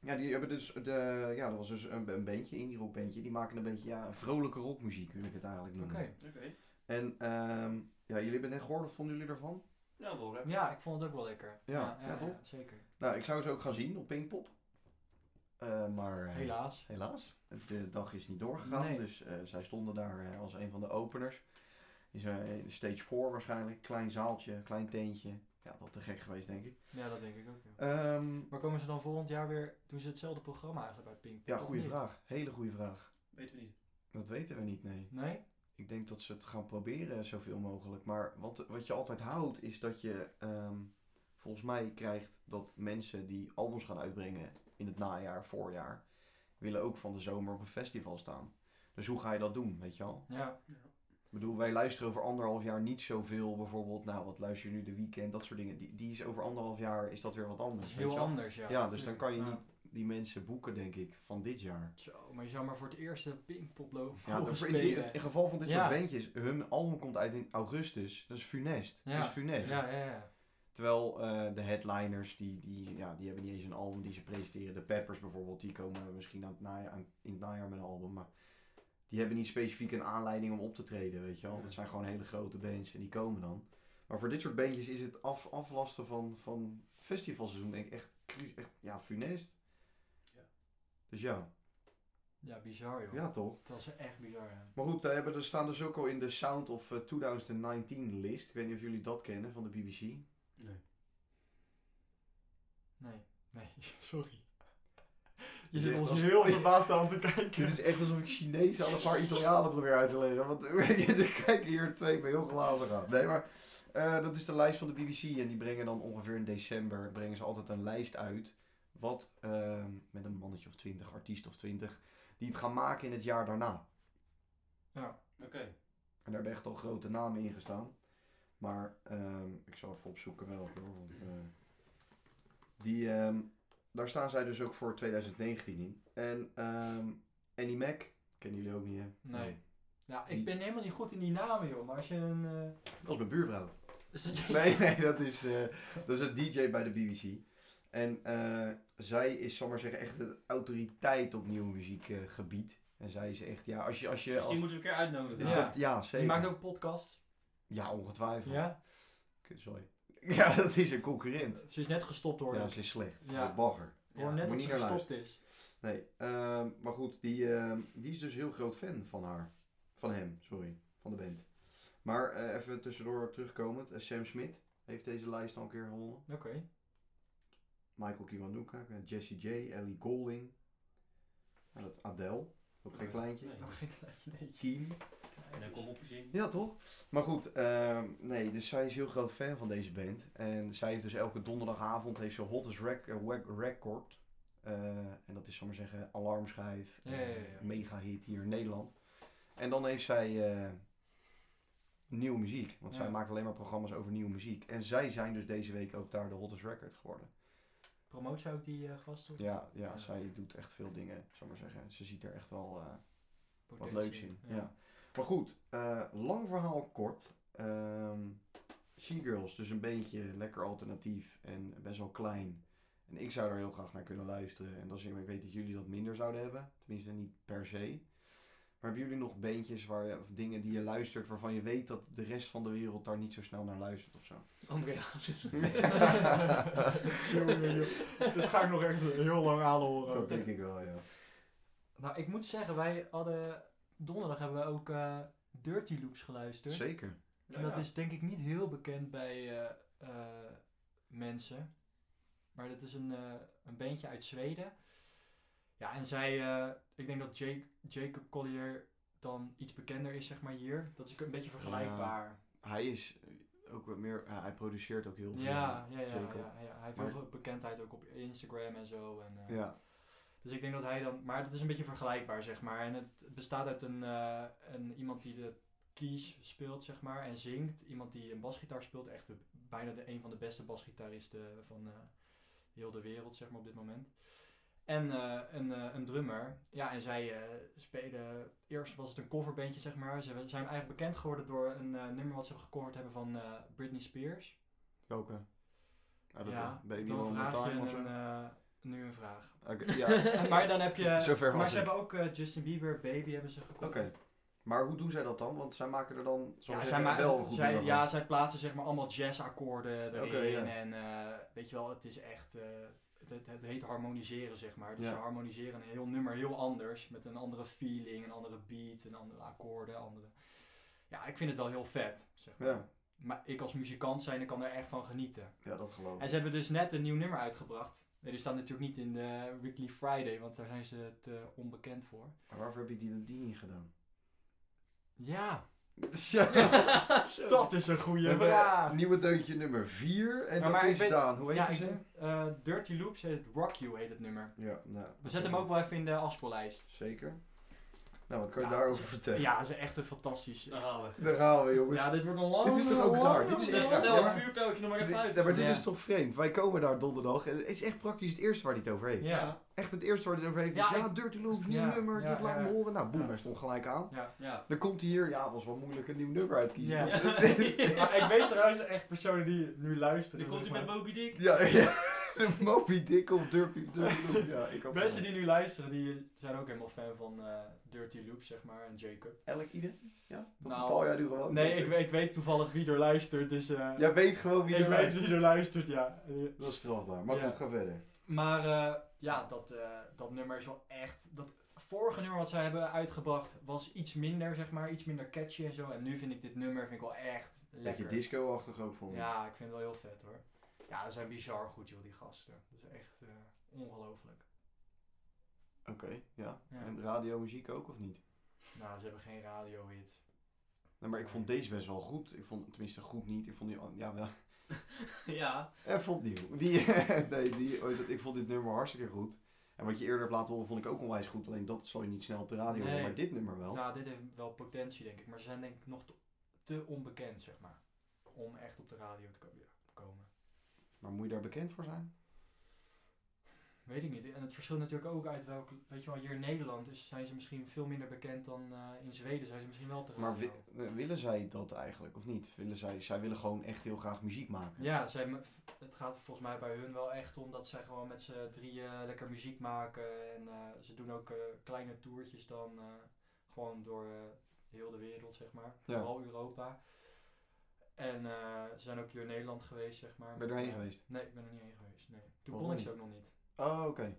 Speaker 2: ja, die hebben dus, de, ja, dat was dus een, een bandje, indie rockbandje. Die maken een beetje, ja, vrolijke rockmuziek, wil ik het eigenlijk noemen.
Speaker 1: Oké.
Speaker 2: En, ehm, ja, jullie hebben het net gehoord, wat vonden jullie ervan?
Speaker 1: Nou, wel hè.
Speaker 3: Ja, ik vond het ook wel lekker.
Speaker 2: Ja, ja, toch?
Speaker 3: zeker.
Speaker 2: Nou, ik zou ze ook gaan zien op Pinkpop. Eh, maar eh,
Speaker 3: Helaas.
Speaker 2: helaas, de dag is niet doorgegaan.
Speaker 3: Nee.
Speaker 2: Dus eh, zij stonden daar eh, als een van de openers. Is eh, stage 4 waarschijnlijk, klein zaaltje, klein tentje. Ja, dat te gek geweest, denk ik.
Speaker 3: Ja, dat denk ik ook. ja.
Speaker 2: Ehm,
Speaker 3: Maar komen ze dan volgend jaar weer, doen ze hetzelfde programma eigenlijk bij Pink?
Speaker 2: ja,
Speaker 3: Toch
Speaker 2: goede
Speaker 3: niet?
Speaker 2: vraag. Hele goede vraag.
Speaker 1: Weten we niet.
Speaker 2: Dat weten we niet, nee.
Speaker 3: Nee?
Speaker 2: Ik denk dat ze het gaan proberen zoveel mogelijk. Maar wat, wat je altijd houdt is dat je ehm, volgens mij krijgt dat mensen die albums gaan uitbrengen in het najaar, voorjaar, willen ook van de zomer op een festival staan. Dus hoe ga je dat doen, weet je al?
Speaker 3: Ja.
Speaker 2: Ik bedoel, wij luisteren over anderhalf jaar niet zoveel. Bijvoorbeeld, nou, wat luister je nu de weekend, dat soort dingen. Die, die is over anderhalf jaar is dat weer wat
Speaker 3: Dat
Speaker 2: anders.
Speaker 3: is
Speaker 2: weet je
Speaker 3: heel
Speaker 2: wel?
Speaker 3: anders, ja.
Speaker 2: Ja, dus dan kan je
Speaker 3: Ja.
Speaker 2: niet die mensen boeken, denk ik, van dit jaar.
Speaker 3: Zo, maar je zou maar voor het eerst een Pinkpop lopen
Speaker 2: Ja, dat- in, die-
Speaker 3: spelen.
Speaker 2: in geval van dit
Speaker 3: Ja.
Speaker 2: soort bandjes, hun album komt uit in augustus. Dat is funest.
Speaker 3: Ja.
Speaker 2: Dat is funest.
Speaker 3: Ja, ja, ja.
Speaker 2: Terwijl eh, de headliners, die, die, ja, die hebben niet eens een album die ze presenteren. De Peppers bijvoorbeeld, die komen misschien aan het najaar, aan- in het najaar met een album. Maar die hebben niet specifiek een aanleiding om op te treden, weet je wel.
Speaker 1: Nee.
Speaker 2: Dat zijn gewoon hele grote bands en die komen dan. Maar voor dit soort bandjes is het af, aflasten van, van het festivalseizoen denk ik echt, cru- echt ja, funest.
Speaker 1: Ja.
Speaker 2: Dus ja,
Speaker 3: Ja, bizar joh.
Speaker 2: ja toch.
Speaker 3: Dat is echt bizar. Ja.
Speaker 2: Maar goed, daar hebben, er staan dus ook al in de Sound of eh, 2019 list. Ik weet niet of jullie dat kennen van de BBC.
Speaker 1: Nee.
Speaker 3: Nee, nee, sorry. Je
Speaker 2: Je
Speaker 3: zit
Speaker 2: zegt
Speaker 3: ons
Speaker 2: als-
Speaker 3: heel verbaasd aan te kijken.
Speaker 2: Dit is echt alsof ik Chinezen aan een paar Italianen probeer uit te leggen. Want er kijken hier twee bij heel glazig aan. Nee, maar eh, dat is de lijst van de BBC. En die brengen dan ongeveer in december brengen ze altijd een lijst uit. Wat ehm, met een mannetje of twintig, artiest of twintig, die het gaan maken in het jaar daarna.
Speaker 3: Ja.
Speaker 1: Oké. Dus
Speaker 2: En daar hebben echt al grote namen in gestaan. Maar ehm, ik zal even opzoeken welke hoor. Want, eh, die, ehm, daar staan zij dus ook voor 2019 in. En ehm Annie Mac, kennen jullie ook niet hè? Nou,
Speaker 3: Nee. Ja, ik
Speaker 2: Die-
Speaker 3: ben helemaal niet goed in die namen joh, maar als je een... eh,
Speaker 2: Dat is mijn buurvrouw.
Speaker 3: is dat-
Speaker 2: Nee, nee, dat is, eh, dat is een DJ bij de BBC. En eh, zij is, zal ik maar zeggen, echt een autoriteit op nieuw muziekgebied. en zij is echt, ja, als je. Als je
Speaker 1: Dus
Speaker 2: als,
Speaker 1: die moeten we een keer uitnodigen.
Speaker 2: ja,
Speaker 3: Ja.
Speaker 2: dat- ja,
Speaker 3: Die
Speaker 2: zeker.
Speaker 3: maakt ook podcasts.
Speaker 2: Ja, ongetwijfeld.
Speaker 3: Ja?
Speaker 2: Kut, Sorry. Ja, dat is een concurrent.
Speaker 3: Ze is net gestopt hoor.
Speaker 2: Ja,
Speaker 3: ik.
Speaker 2: ze is slecht.
Speaker 3: Ja.
Speaker 2: Ja. Bagger.
Speaker 3: Ik hoor net
Speaker 2: moet
Speaker 3: dat
Speaker 2: je
Speaker 3: ze
Speaker 2: niet naar
Speaker 3: gestopt is.
Speaker 2: Nee, ehm, maar goed, die, ehm, die is dus heel groot fan van haar. Van hem, sorry. Van de band. Maar eh, even tussendoor terugkomend. eh, Sam Smith heeft deze lijst al een keer gewonnen.
Speaker 3: Oké.
Speaker 2: Michael Kiwanuka, eh, Jesse J, Ellie Golding. Ja, dat Adele, ook geen
Speaker 1: Nee,
Speaker 2: kleintje.
Speaker 1: nee.
Speaker 3: Nog geen klein beetje.
Speaker 2: Keen.
Speaker 1: En dan kom op je zin.
Speaker 2: Ja, toch? Maar goed, ehm, nee, dus zij is heel groot fan van deze band. En zij heeft dus elke donderdagavond heeft ze Hottest rec eh, Wack Record. Eh, en dat is, zal ik maar zeggen, alarmschijf.
Speaker 3: Ja, ja, ja, ja.
Speaker 2: Mega hit hier in Nederland. En dan heeft zij eh, nieuwe muziek. Want zij
Speaker 3: Ja.
Speaker 2: maakt alleen maar programma's over nieuwe muziek. En zij zijn dus deze week ook daar de hottest record geworden.
Speaker 3: Promoot ze ook die eh, gast? of
Speaker 2: Ja, ja,
Speaker 3: Ja.
Speaker 2: zij doet echt veel dingen, zal ik maar zeggen. Ze ziet er echt wel... eh, wat
Speaker 3: potentie?
Speaker 2: leuks in. Ja. Maar goed, eh, lang verhaal kort. Ehm She-Girls, dus een beetje lekker alternatief en best wel klein. En ik zou er heel graag naar kunnen luisteren. En dat is, ik weet dat jullie dat minder zouden hebben. Tenminste, niet per se. Maar hebben jullie nog beentjes waar, je- of dingen die je luistert waarvan je weet dat de rest van de wereld daar niet zo snel naar luistert of zo?
Speaker 1: Andreas is
Speaker 2: Jongen,
Speaker 3: Dat ga ik nog echt heel lang aanhoren.
Speaker 2: Dat denk ik wel, ja.
Speaker 3: Nou, ik moet zeggen, wij hadden... Donderdag hebben we ook eh, Dirty Loops geluisterd.
Speaker 2: Zeker.
Speaker 3: En dat is denk ik niet heel bekend bij eh, eh, mensen. Maar dat is een, eh, een bandje uit Zweden. Ja, en zij... eh, ik denk dat Jake, Jacob Collier dan iets bekender is, zeg maar, hier. Dat is een beetje vergelijkbaar.
Speaker 2: Hij is eh, ook wat meer, eh, hij produceert ook heel veel.
Speaker 3: Ja, ja, ja. ja,
Speaker 2: Jacob.
Speaker 3: ja. Hij heeft
Speaker 2: Maar-
Speaker 3: heel veel bekendheid ook op Instagram en zo. En, eh,
Speaker 2: Ja,
Speaker 3: Dus ik denk dat hij dan. Maar dat is een beetje vergelijkbaar, zeg maar. En het bestaat uit een, eh, een iemand die de keys speelt, zeg maar, en zingt. Iemand die een basgitaar speelt. Echt de- bijna de, een van de beste basgitaristen van eh, heel de wereld, zeg maar, op dit moment. En eh, een, eh, een drummer. Ja, en zij eh, spelen. Eerst was het een coverbandje, zeg maar. Ze zijn eigenlijk bekend geworden door een eh, nummer wat ze gecoverd hebben van eh, Britney Spears.
Speaker 2: Welke? Ah, dat
Speaker 3: ja,
Speaker 2: ja, Baby
Speaker 3: dan
Speaker 2: One More
Speaker 3: vraag
Speaker 2: Time of
Speaker 3: je
Speaker 2: zo?
Speaker 3: een, eh, nu een vraag.
Speaker 2: Oké, ja.
Speaker 3: En maar dan heb je.
Speaker 2: Zover
Speaker 3: maar
Speaker 2: was
Speaker 3: ze
Speaker 2: ik.
Speaker 3: hebben ook eh, Justin Bieber, Baby hebben ze gekocht.
Speaker 2: Oké. Maar hoe doen zij dat dan? Want zij maken er dan zal ik
Speaker 3: Ja, zij,
Speaker 2: zeggen,
Speaker 3: ma-
Speaker 2: wel een goed
Speaker 3: zij,
Speaker 2: nummer
Speaker 3: ja,
Speaker 2: van.
Speaker 3: zij plaatsen zeg maar allemaal jazzakkoorden erin.
Speaker 2: Oké, ja.
Speaker 3: En eh, weet je wel, het is echt. eh, het- het, het heet harmoniseren, zeg maar. Dus
Speaker 2: Ja.
Speaker 3: ze harmoniseren een heel nummer heel anders. Met een andere feeling, een andere beat, een andere akkoorden. Andere... Ja, ik vind het wel heel vet. Zeg maar.
Speaker 2: Ja.
Speaker 3: maar ik als muzikant zijn, ik kan er echt van genieten.
Speaker 2: ja, dat geloof
Speaker 3: En
Speaker 2: ik.
Speaker 3: ze hebben dus net een nieuw nummer uitgebracht. Nee, die staat natuurlijk niet in de Weekly Friday, want daar zijn ze te onbekend voor.
Speaker 2: Maar waarvoor heb je die, die niet gedaan?
Speaker 3: Ja,
Speaker 2: Zo.
Speaker 3: Dat is een
Speaker 2: We
Speaker 3: goede
Speaker 2: hebben
Speaker 3: vraag.
Speaker 2: nieuwe deuntje nummer 4. En
Speaker 3: Ja,
Speaker 2: dat
Speaker 3: maar ik
Speaker 2: is
Speaker 3: weet-
Speaker 2: Daan. Hoe heet
Speaker 3: Ja,
Speaker 2: die
Speaker 3: ik,
Speaker 2: ze?
Speaker 3: eh, Dirty Loops heet het Rock You heet het nummer.
Speaker 2: Ja, nou.
Speaker 3: We zetten hem ook wel even in de afspeellijst.
Speaker 2: Zeker. Nou, wat kan je
Speaker 3: Ja,
Speaker 2: daarover
Speaker 3: ze-
Speaker 2: vertellen?
Speaker 3: Ja, ze is echt een fantastisch.
Speaker 1: Daar gaan we.
Speaker 2: Daar gaan we, jongens.
Speaker 3: Ja, dit wordt een lang.
Speaker 2: Dit is toch ook
Speaker 3: lang-
Speaker 2: klaar? Dit is
Speaker 3: lang-
Speaker 2: echt- Ja,
Speaker 1: Stel het
Speaker 2: maar-
Speaker 1: vuurpijltje nog maar
Speaker 2: Dit-
Speaker 1: even uit.
Speaker 2: ja, maar dit
Speaker 3: Ja.
Speaker 2: is toch vreemd? Wij komen daar donderdag en het is echt praktisch het eerste waar hij het over heeft.
Speaker 3: Ja.
Speaker 2: Echt het eerste waar hij het over heeft.
Speaker 3: Ja,
Speaker 2: Ja, ja
Speaker 3: ik-
Speaker 2: Dirty Loops, nieuw
Speaker 3: Ja,
Speaker 2: nummer,
Speaker 3: ja,
Speaker 2: dit laat
Speaker 3: ja.
Speaker 2: me horen. Nou, boem,
Speaker 3: Ja.
Speaker 2: hij stond gelijk aan.
Speaker 3: Ja.
Speaker 1: Ja.
Speaker 2: Dan komt hij hier, ja, was wel moeilijk een nieuw nummer uitkiezen.
Speaker 3: Ja. Maar ik weet trouwens echt personen die nu luisteren.
Speaker 1: Dan komt hij
Speaker 3: zeg
Speaker 1: met
Speaker 3: maar.
Speaker 1: Moby Dick.
Speaker 2: Ja, ja. Moby Dick of Derpy Derpy Ja, ik had
Speaker 3: Mensen die nu luisteren, die zijn ook helemaal fan van eh, Dirty Loops, zeg maar, en Jacob.
Speaker 2: Elk ieder? Ja? Dat
Speaker 3: Nou,
Speaker 2: bepaal jij nu gewoon.
Speaker 3: Nee, ik, weet- ik weet toevallig wie er luistert, dus... eh,
Speaker 2: Jij weet gewoon wie
Speaker 3: ik
Speaker 2: er
Speaker 3: weet wie er luistert, ja.
Speaker 2: Dat is strafbaar. Maar
Speaker 3: Ja.
Speaker 2: goed, ga verder.
Speaker 3: Maar eh, ja, dat, eh, dat nummer is wel echt. Dat vorige nummer wat zij hebben uitgebracht was iets minder, zeg maar, iets minder catchy en zo. En nu vind ik dit nummer vind ik wel echt
Speaker 2: Beetje
Speaker 3: lekker.
Speaker 2: disco-achtig ook voor me.
Speaker 3: ja, ik vind het wel heel vet hoor. Ja, ze zijn bizar goed joh, die gasten. Dat is echt eh, ongelooflijk.
Speaker 2: Oké, ja.
Speaker 3: Ja.
Speaker 2: En radiomuziek ook, of niet?
Speaker 3: Nou, ze hebben geen radiohit.
Speaker 2: Nee, maar ik vond deze best wel goed. Ik vond, tenminste, goed niet. Ik vond die, oh, ja, wel.
Speaker 1: Ja.
Speaker 2: Even opnieuw. Eh, Die, nee, die, oh, dat- ik vond dit nummer hartstikke goed. En wat je eerder hebt laten horen, vond ik ook onwijs goed. Alleen dat zal je niet snel op de radio horen,
Speaker 3: Nee.
Speaker 2: maar dit nummer wel.
Speaker 3: Nou, dit heeft wel potentie denk ik. Maar ze zijn denk ik nog te, te onbekend, zeg maar. Om echt op de radio te ko- komen.
Speaker 2: Maar moet je daar bekend voor zijn?
Speaker 3: Weet ik niet. En het verschilt natuurlijk ook uit welk. Weet je wel, hier in Nederland is, zijn ze misschien veel minder bekend dan eh, in Zweden. Zijn ze misschien wel op de
Speaker 2: Maar
Speaker 3: radio.
Speaker 2: wi- eh, willen zij dat eigenlijk, of niet? Willen zij, zij willen gewoon echt heel graag muziek maken.
Speaker 3: Ja, zij, me- het gaat volgens mij bij hun wel echt om dat zij gewoon met z'n drieën lekker muziek maken. En eh, ze doen ook eh, kleine toertjes dan eh, gewoon door eh, heel de wereld, zeg maar.
Speaker 2: Ja.
Speaker 3: Vooral Europa. En eh, ze zijn ook hier in Nederland geweest, zeg maar.
Speaker 2: Ben je
Speaker 3: met,
Speaker 2: erheen
Speaker 3: eh,
Speaker 2: geweest?
Speaker 3: Nee, ik ben er niet heen geweest. Nee. Toen
Speaker 2: Waarom
Speaker 3: kon ik
Speaker 2: niet?
Speaker 3: ze ook nog niet.
Speaker 2: Oh, oké.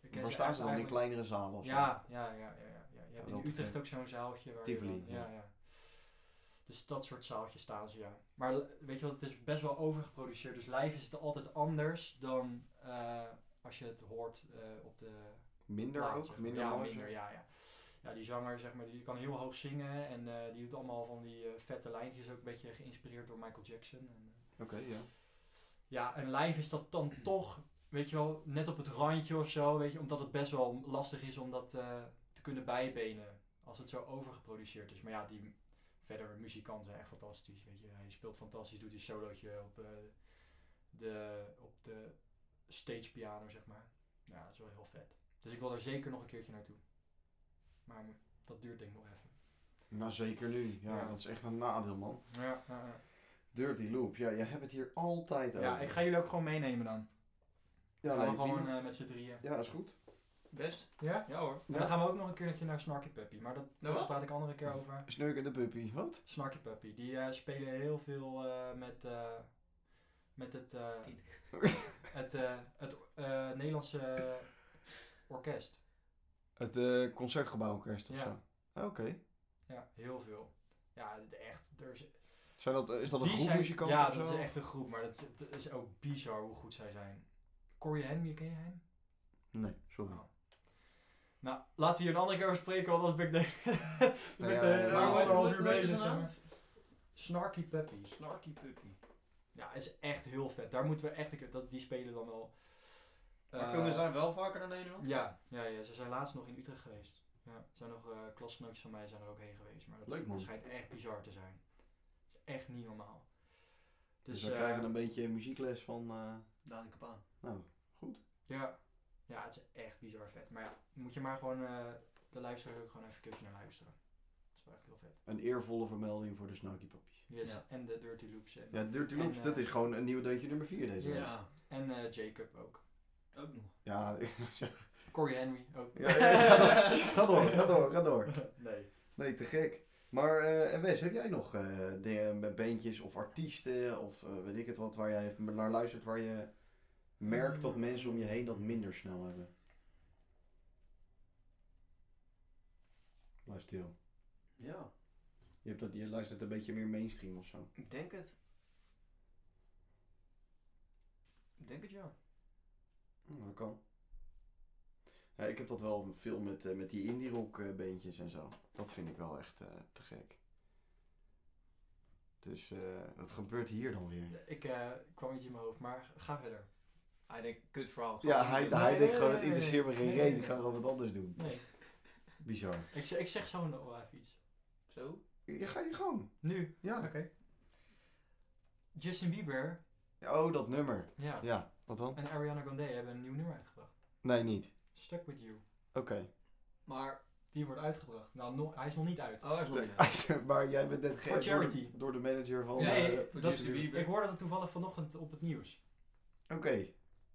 Speaker 3: Ik ken
Speaker 2: Waar staan ze dan? In
Speaker 3: eigenlijk-
Speaker 2: kleinere zalen of zo?
Speaker 3: Ja, ja, ja, ja, ja, ja. Je hebt
Speaker 2: wel
Speaker 3: in Utrecht
Speaker 2: terecht.
Speaker 3: ook zo'n zaaltje. Waar je
Speaker 2: Tivoli,
Speaker 3: dan- ja.
Speaker 2: ja.
Speaker 3: ja. Dus dat soort zaaltjes staan ze, ja. Maar l- weet je wat, het is best wel overgeproduceerd. Dus live is het altijd anders dan eh, als je het hoort eh, op de
Speaker 2: Minder
Speaker 3: plaat, zeg
Speaker 2: ook?
Speaker 3: maar.
Speaker 2: Minder
Speaker 3: ja,
Speaker 2: noise?
Speaker 3: minder, ja, ja. Ja, die zanger, zeg maar, die kan heel hoog zingen. En eh, die doet allemaal van die eh, vette lijntjes. Ook een beetje geïnspireerd door Michael Jackson. En, eh,
Speaker 2: Oké, ja.
Speaker 3: ja, en live is dat dan toch, weet je wel, net op het randje of zo, weet je, omdat het best wel lastig is om dat eh, te kunnen bijbenen. Als het zo overgeproduceerd is. Maar ja, die verdere muzikanten zijn echt fantastisch. Weet je. Hij speelt fantastisch, doet een solootje op, eh, de, op de stage piano, zeg maar. Ja, dat is wel heel vet. Dus ik wil er zeker nog een keertje naartoe. Maar dat duurt denk ik nog even.
Speaker 2: Nou, zeker nu. Ja,
Speaker 3: Ja.
Speaker 2: dat is echt een nadeel, man.
Speaker 3: Ja, ja, ja.
Speaker 2: Dirty Loop. Ja, jij hebt het hier altijd over.
Speaker 3: ja, ik ga jullie ook gewoon meenemen dan.
Speaker 2: Ja,
Speaker 3: we
Speaker 2: nee,
Speaker 3: gaan gewoon
Speaker 2: prima.
Speaker 3: eh, met z'n drieën.
Speaker 2: Ja, is goed.
Speaker 1: Best?
Speaker 3: Ja?
Speaker 1: Ja hoor.
Speaker 3: En dan gaan we ook nog een keertje naar Snarky Puppy, maar dat,
Speaker 1: Nou,
Speaker 3: daar
Speaker 1: wat?
Speaker 3: praat ik andere keer over.
Speaker 2: Snurk en de puppy. Wat?
Speaker 3: Snarky Puppy, die eh, spelen heel veel eh, met, eh, met het, eh, het, eh, het eh, Nederlandse orkest.
Speaker 2: Het eh concertgebouworkest of
Speaker 3: Ja.
Speaker 2: zo. Ah, Oké.
Speaker 3: Ja, heel veel. Ja, het echt. Er is,
Speaker 2: Zijn dat, is dat een
Speaker 3: die
Speaker 2: groep
Speaker 3: zijn-
Speaker 2: muzikanten
Speaker 3: Ja,
Speaker 2: of
Speaker 3: dat
Speaker 2: zo?
Speaker 3: is echt een groep, maar dat is, dat is ook bizar hoe goed zij zijn. Corey Henry, ken je hem?
Speaker 2: Nee, sorry.
Speaker 3: Oh. Nou, laten we hier een andere keer over spreken, want anders ben ik de, ben ik
Speaker 2: ja,
Speaker 3: de
Speaker 2: ja, ja.
Speaker 3: daar
Speaker 2: Maar
Speaker 3: anderhalf
Speaker 1: wat-
Speaker 3: uur
Speaker 1: wat is
Speaker 3: bezig.
Speaker 1: er
Speaker 3: zeg
Speaker 1: nou?
Speaker 3: maar. Snarky Puppy.
Speaker 1: Snarky puppy.
Speaker 3: Ja, is echt heel vet. Daar moeten we echt een keer... Dat, die spelen dan wel...
Speaker 1: Maar
Speaker 3: Eh,
Speaker 1: komen zij wel vaker naar Nederland?
Speaker 3: Ja, ja, ja, ze zijn laatst nog in Utrecht geweest. Ja, er zijn nog eh, klasgenootjes van mij zijn er ook heen geweest. Maar dat
Speaker 2: Leuk, man.
Speaker 3: schijnt echt bizar te zijn. Het is echt niet normaal.
Speaker 2: Dus
Speaker 3: Dus,
Speaker 2: we
Speaker 3: eh,
Speaker 2: krijgen een beetje muziekles van... eh,
Speaker 1: Daan de Kapaan.
Speaker 2: nou, goed.
Speaker 3: Ja. ja, het is echt bizar vet. Maar ja, moet je maar gewoon eh, de luisteraar ook gewoon even een keertje naar luisteren. Dat is wel echt heel vet.
Speaker 2: Een eervolle vermelding voor de Snarky Puppies.
Speaker 3: Yes.
Speaker 1: Ja.
Speaker 3: En de Dirty Loops. En,
Speaker 2: Ja, Dirty
Speaker 3: En,
Speaker 2: Loops,
Speaker 3: eh,
Speaker 2: dat is gewoon een nieuw deuntje nummer 4 deze
Speaker 3: Yes.
Speaker 2: week.
Speaker 1: Ja,
Speaker 3: en eh, Jacob ook.
Speaker 1: ook nog.
Speaker 2: Ja, ja,
Speaker 3: Corey Henry ook.
Speaker 2: ja, ga door, ga door, ga door, ga door.
Speaker 3: Nee.
Speaker 2: Nee, te gek. Maar eh, en Wes, heb jij nog eh, dingen met bandjes of artiesten of eh, weet ik het wat, waar jij even naar luistert, waar je merkt dat mensen om je heen dat minder snel hebben? Blijf stil.
Speaker 1: Ja,
Speaker 2: Je, hebt dat, je luistert een beetje meer mainstream of zo.
Speaker 1: ik denk het. Ik denk het ja.
Speaker 2: Hm, dat kan. Ja, ik heb dat wel veel met, eh, met die indie rock eh, bandjes en zo. Dat vind ik wel echt eh, te gek. Dus eh wat gebeurt hier dan weer?
Speaker 3: Ik eh, kwam iets in mijn hoofd, maar ga verder.
Speaker 1: Hij denkt, kut verhaal.
Speaker 2: Ja, hij, hij denkt gewoon, het
Speaker 3: nee,
Speaker 2: interesseert me geen
Speaker 3: nee,
Speaker 2: reet,
Speaker 3: nee.
Speaker 2: ik ga gewoon wat anders doen.
Speaker 3: Nee.
Speaker 2: Bizar.
Speaker 3: Ik, z- ik zeg zo nog wel even iets.
Speaker 1: Zo?
Speaker 2: Je ga je gang.
Speaker 3: Nu.
Speaker 2: Ja.
Speaker 3: Justin Bieber
Speaker 2: Oh, dat nummer.
Speaker 3: ja.
Speaker 2: Ja, wat dan?
Speaker 3: en Ariana Grande hebben een nieuw nummer uitgebracht.
Speaker 2: Nee, niet.
Speaker 3: Stuck With You.
Speaker 2: Oké.
Speaker 1: Maar,
Speaker 3: Die wordt uitgebracht. Nou, nog- hij is nog niet uit.
Speaker 1: oh, hij is nog niet.
Speaker 2: maar jij bent net
Speaker 3: Voor
Speaker 2: door,
Speaker 3: charity.
Speaker 2: de- door de manager van...
Speaker 3: Nee,
Speaker 2: eh,
Speaker 1: voor
Speaker 3: dat-
Speaker 1: Justin Bieber.
Speaker 3: Ik hoorde dat toevallig vanochtend op het nieuws.
Speaker 2: Oké.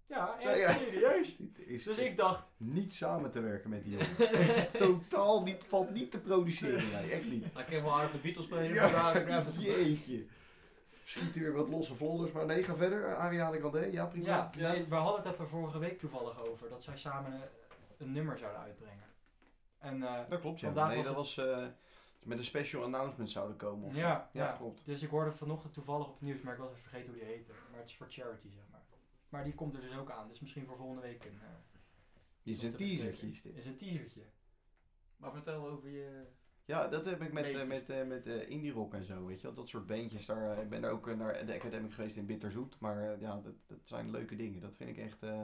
Speaker 3: Ja,
Speaker 2: Nou
Speaker 3: echt
Speaker 2: ja,
Speaker 3: serieus.
Speaker 2: Dit is
Speaker 3: Dus ik dacht,
Speaker 2: niet samen te werken met die jongen. Totaal niet, valt niet te produceren. Nee, echt niet.
Speaker 1: Hij kan wel aardig de Beatles spelen,
Speaker 2: Ja,
Speaker 1: maar daar heb ik even-
Speaker 2: jeetje. Schiet hier wat losse vlonders, maar nee, ga verder. Eh, Ariane Grande, ja prima.
Speaker 3: ja,
Speaker 1: Ja.
Speaker 3: nee, we hadden het er vorige week toevallig over. Dat zij samen eh, een nummer zouden uitbrengen. En eh,
Speaker 2: Dat klopt, ja.
Speaker 3: Vandaag
Speaker 2: nee,
Speaker 3: was
Speaker 2: dat
Speaker 3: het-
Speaker 2: was eh, met een special announcement zouden komen. Of zo.
Speaker 3: Ja,
Speaker 2: ja,
Speaker 3: ja.
Speaker 2: klopt.
Speaker 3: Dus ik hoorde vanochtend toevallig op het nieuws, maar ik was even vergeten hoe die heette. Maar het is voor charity, zeg maar. Maar die komt er dus ook aan, dus misschien voor volgende week een... eh,
Speaker 2: Dit is een
Speaker 3: om te bespreken.
Speaker 2: teasertje, is dit.
Speaker 3: Is een teasertje.
Speaker 1: Maar vertel over je...
Speaker 2: Ja, dat heb ik met, eh,
Speaker 1: Beetjes.
Speaker 2: met, eh, met eh, indie rock en zo, weet je wel. Dat soort bandjes. Daar, eh, ik ben daar ook eh, naar de Academic geweest in Bitterzoet. Maar eh, ja, dat, dat zijn leuke dingen. Dat vind ik echt... eh,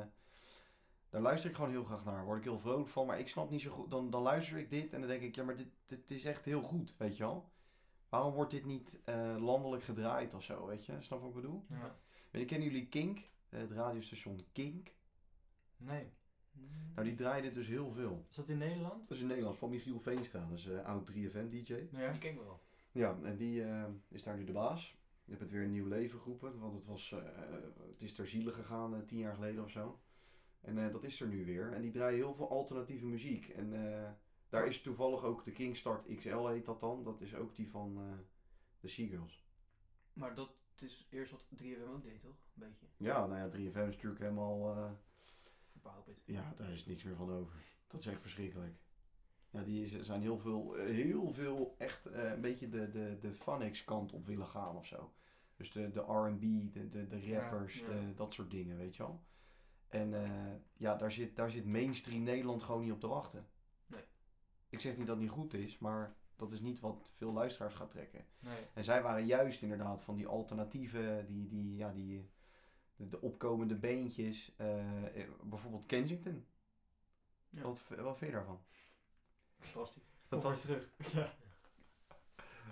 Speaker 2: daar luister ik gewoon heel graag naar. Word ik heel vrolijk van. Maar ik snap niet zo goed... Dan, dan luister ik dit en dan denk ik... Ja, maar dit, dit is echt heel goed, weet je wel. Waarom wordt dit niet eh, landelijk gedraaid of zo, weet je? Snap wat ik bedoel?
Speaker 3: Ja.
Speaker 2: Weet je, kennen jullie Kink? Eh, het radiostation Kink.
Speaker 3: Nee. Hmm.
Speaker 2: Nou, die draaien dit dus heel veel.
Speaker 3: Is dat in Nederland?
Speaker 2: Dat is in Nederland van Michiel Veenstra. Dat is eh, oud 3FM-dj.
Speaker 3: Ja.
Speaker 1: Die ken ik wel.
Speaker 2: Ja, en die eh, is daar nu de baas. Je hebt het weer een nieuw leven geroepen, want het, was, eh, eh, het is ter ziele gegaan eh, tien jaar geleden of zo. En eh, dat is er nu weer. En die draaien heel veel alternatieve muziek. En eh, daar is toevallig ook de Kingstart XL heet dat dan. Dat is ook die van eh, de Seagulls.
Speaker 1: Maar dat is eerst wat 3FM ook deed, toch? Een beetje.
Speaker 2: Ja, nou ja, 3FM is natuurlijk helemaal... eh,
Speaker 1: Verpauperd.
Speaker 2: ja, daar is niks meer van over. Dat is echt verschrikkelijk. Ja, die is, zijn heel veel, eh, heel veel echt eh, een beetje de, de, de phonics kant op willen gaan of zo. Dus de, de R&B, de, de, de
Speaker 3: Ja,
Speaker 2: rappers,
Speaker 1: ja.
Speaker 2: de- dat soort dingen, weet je wel. En eh, ja, daar zit, daar zit mainstream Nederland gewoon niet op te wachten.
Speaker 1: Nee.
Speaker 2: Ik zeg niet dat het niet goed is, maar dat is niet wat veel luisteraars gaat trekken.
Speaker 3: Nee.
Speaker 2: En zij waren juist inderdaad van die alternatieve, die, die, ja, die, de, de opkomende beentjes. eh, eh, bijvoorbeeld Kensington.
Speaker 1: Ja.
Speaker 2: Wat, v- wat vind je daarvan?
Speaker 1: Fantastisch.
Speaker 3: Kom
Speaker 2: Fantastisch.
Speaker 3: weer terug. Ja.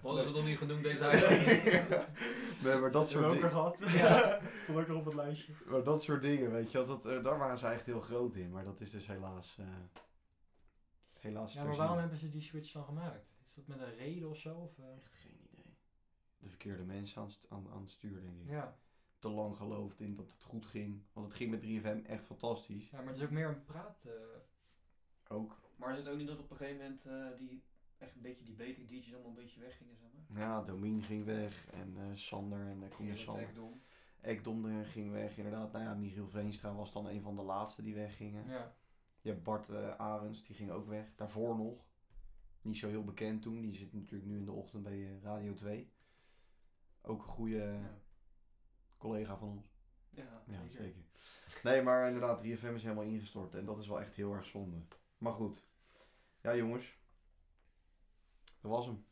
Speaker 5: Wat is het nog niet genoemd deze uitzending?
Speaker 2: nee, maar dat, soort
Speaker 3: ook weer
Speaker 2: dingen,
Speaker 3: gehad. Ja. Stond ook nog op het lijstje.
Speaker 2: maar dat soort dingen, weet je wel, dat, eh, daar waren ze echt heel groot in. Maar dat is dus helaas... eh, helaas
Speaker 3: Ja,
Speaker 2: ter
Speaker 3: maar waarom
Speaker 2: ziele.
Speaker 3: hebben ze die switch dan gemaakt? Is dat met een reden of zo? Of, eh,
Speaker 1: Echt geen idee.
Speaker 2: De verkeerde mensen aan, het st- aan, aan het stuur, denk ik.
Speaker 3: ja.
Speaker 2: Te lang geloofd in dat het goed ging. Want het ging met 3FM echt fantastisch.
Speaker 3: ja, maar het is ook meer een praat. eh,
Speaker 2: Ook.
Speaker 1: Maar is het ook niet dat op een gegeven moment eh, die echt een beetje die betere DJ's allemaal een beetje weggingen, zeg maar?
Speaker 2: Ja, Domien ging weg. En eh, Sander. En daar kom je
Speaker 1: Gerard
Speaker 2: Sander.
Speaker 1: Ekdom.
Speaker 2: Ekdom ging weg, inderdaad. Nou ja, Michiel Veenstra was dan een van de laatste die weggingen.
Speaker 3: ja.
Speaker 2: Je hebt Bart eh, Arends, die ging ook weg. Daarvoor nog. Niet zo heel bekend toen. Die zit natuurlijk nu in de ochtend bij eh, Radio 2. Ook een goede eh,
Speaker 1: Ja.
Speaker 2: collega van ons.
Speaker 1: Ja.
Speaker 2: Ja,
Speaker 3: zeker.
Speaker 2: zeker. Nee, maar inderdaad, 3FM is helemaal ingestort. En dat is wel echt heel erg zonde. Maar goed. Ja, jongens. Dat was hem.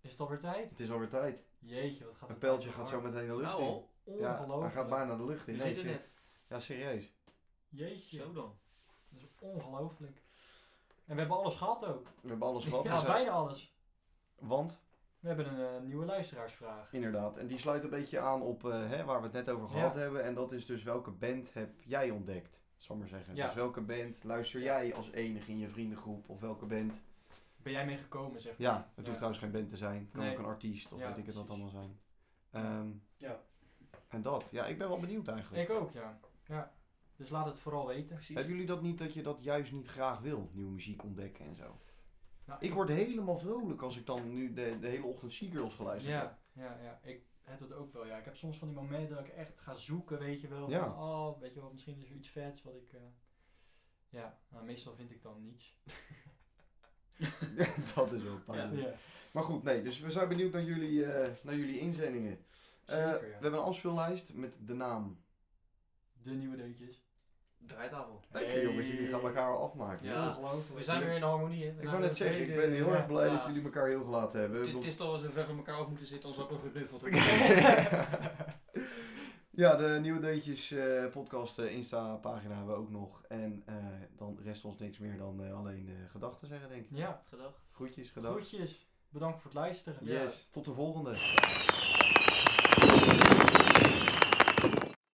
Speaker 3: Is het alweer tijd?
Speaker 2: Het is alweer tijd.
Speaker 3: Jeetje, wat gaat
Speaker 2: Een
Speaker 3: het
Speaker 2: pijltje
Speaker 3: tijd
Speaker 2: gaat zo
Speaker 3: hard.
Speaker 2: meteen de lucht
Speaker 1: Nou
Speaker 2: in.
Speaker 1: al,
Speaker 2: Ja, hij
Speaker 3: Ongelooflijk.
Speaker 2: gaat bijna de lucht in.
Speaker 1: we
Speaker 2: Nee,
Speaker 1: zitten
Speaker 2: ser-
Speaker 1: net.
Speaker 2: ja, serieus.
Speaker 3: Jeetje,
Speaker 1: Zo dan.
Speaker 3: dat is ongelooflijk. En we hebben alles gehad ook.
Speaker 2: We hebben alles gehad.
Speaker 3: Ja,
Speaker 2: dus, eh,
Speaker 3: bijna alles.
Speaker 2: Want
Speaker 3: We hebben een eh, nieuwe luisteraarsvraag.
Speaker 2: Inderdaad, en die sluit een beetje aan op eh, hè, waar we het net over gehad
Speaker 3: Ja.
Speaker 2: hebben. En dat is dus welke band heb jij ontdekt, zal ik maar zeggen.
Speaker 3: Ja.
Speaker 2: Dus welke band luister jij als enige in je vriendengroep? Of welke band?
Speaker 3: Ben jij mee gekomen, zeg maar?
Speaker 2: Ja, het
Speaker 3: Ja.
Speaker 2: hoeft trouwens geen band te zijn. kan
Speaker 3: Nee.
Speaker 2: ook een artiest of
Speaker 3: Ja,
Speaker 2: weet ik het wat
Speaker 3: precies.
Speaker 2: allemaal zijn. Ehm,
Speaker 1: Ja.
Speaker 2: En dat, ja, ik ben wel benieuwd eigenlijk.
Speaker 3: Ik ook, ja. ja. Dus laat het vooral weten.
Speaker 1: Precies.
Speaker 2: Hebben jullie dat niet dat je dat juist niet graag wil? Nieuwe muziek ontdekken en zo.
Speaker 3: Nou,
Speaker 2: Ik word helemaal vrolijk als ik dan nu de, de hele ochtend Seagirls geluisterd heb.
Speaker 3: Ja, ja, ja. Ik heb dat ook wel, ja. Ik heb soms van die momenten dat ik echt ga zoeken, weet je wel.
Speaker 2: Ja.
Speaker 3: Van, oh, weet je wel, misschien is er iets vets wat ik... eh, ja, nou, meestal vind ik dan niets.
Speaker 2: dat is wel pijnlijk. Maar goed, nee, dus we zijn benieuwd naar jullie, eh, naar jullie inzendingen. Eh,
Speaker 3: Zeker,
Speaker 2: We
Speaker 3: ja.
Speaker 2: hebben een afspeellijst met de naam.
Speaker 3: De nieuwe deuntjes.
Speaker 1: Draaitafel.
Speaker 2: Lekker jongens, jullie gaan elkaar afmaken.
Speaker 5: Ja.
Speaker 3: Ongelooflijk.
Speaker 5: We zijn weer in de harmonie, hè? We
Speaker 2: Ik
Speaker 5: gaan
Speaker 1: Nou,
Speaker 2: wou net
Speaker 5: weer
Speaker 2: zeggen, eh, ik
Speaker 5: tweede-
Speaker 2: ben heel
Speaker 3: ja,
Speaker 2: erg blij
Speaker 5: ja.
Speaker 2: dat jullie elkaar heel gelaten hebben.
Speaker 5: Het het is toch wel zo ver van elkaar af moeten zitten als dat we geduffeld
Speaker 2: ja, de Nieuwe Deuntjes eh, podcast eh, Insta-pagina hebben we ook nog. En eh, dan rest ons niks meer dan eh, alleen eh, gedachten zeggen, denk ik.
Speaker 3: Ja,
Speaker 1: Gedag.
Speaker 2: Groetjes, gedachten.
Speaker 3: groetjes. Bedankt voor het luisteren.
Speaker 2: Yes, tot de volgende.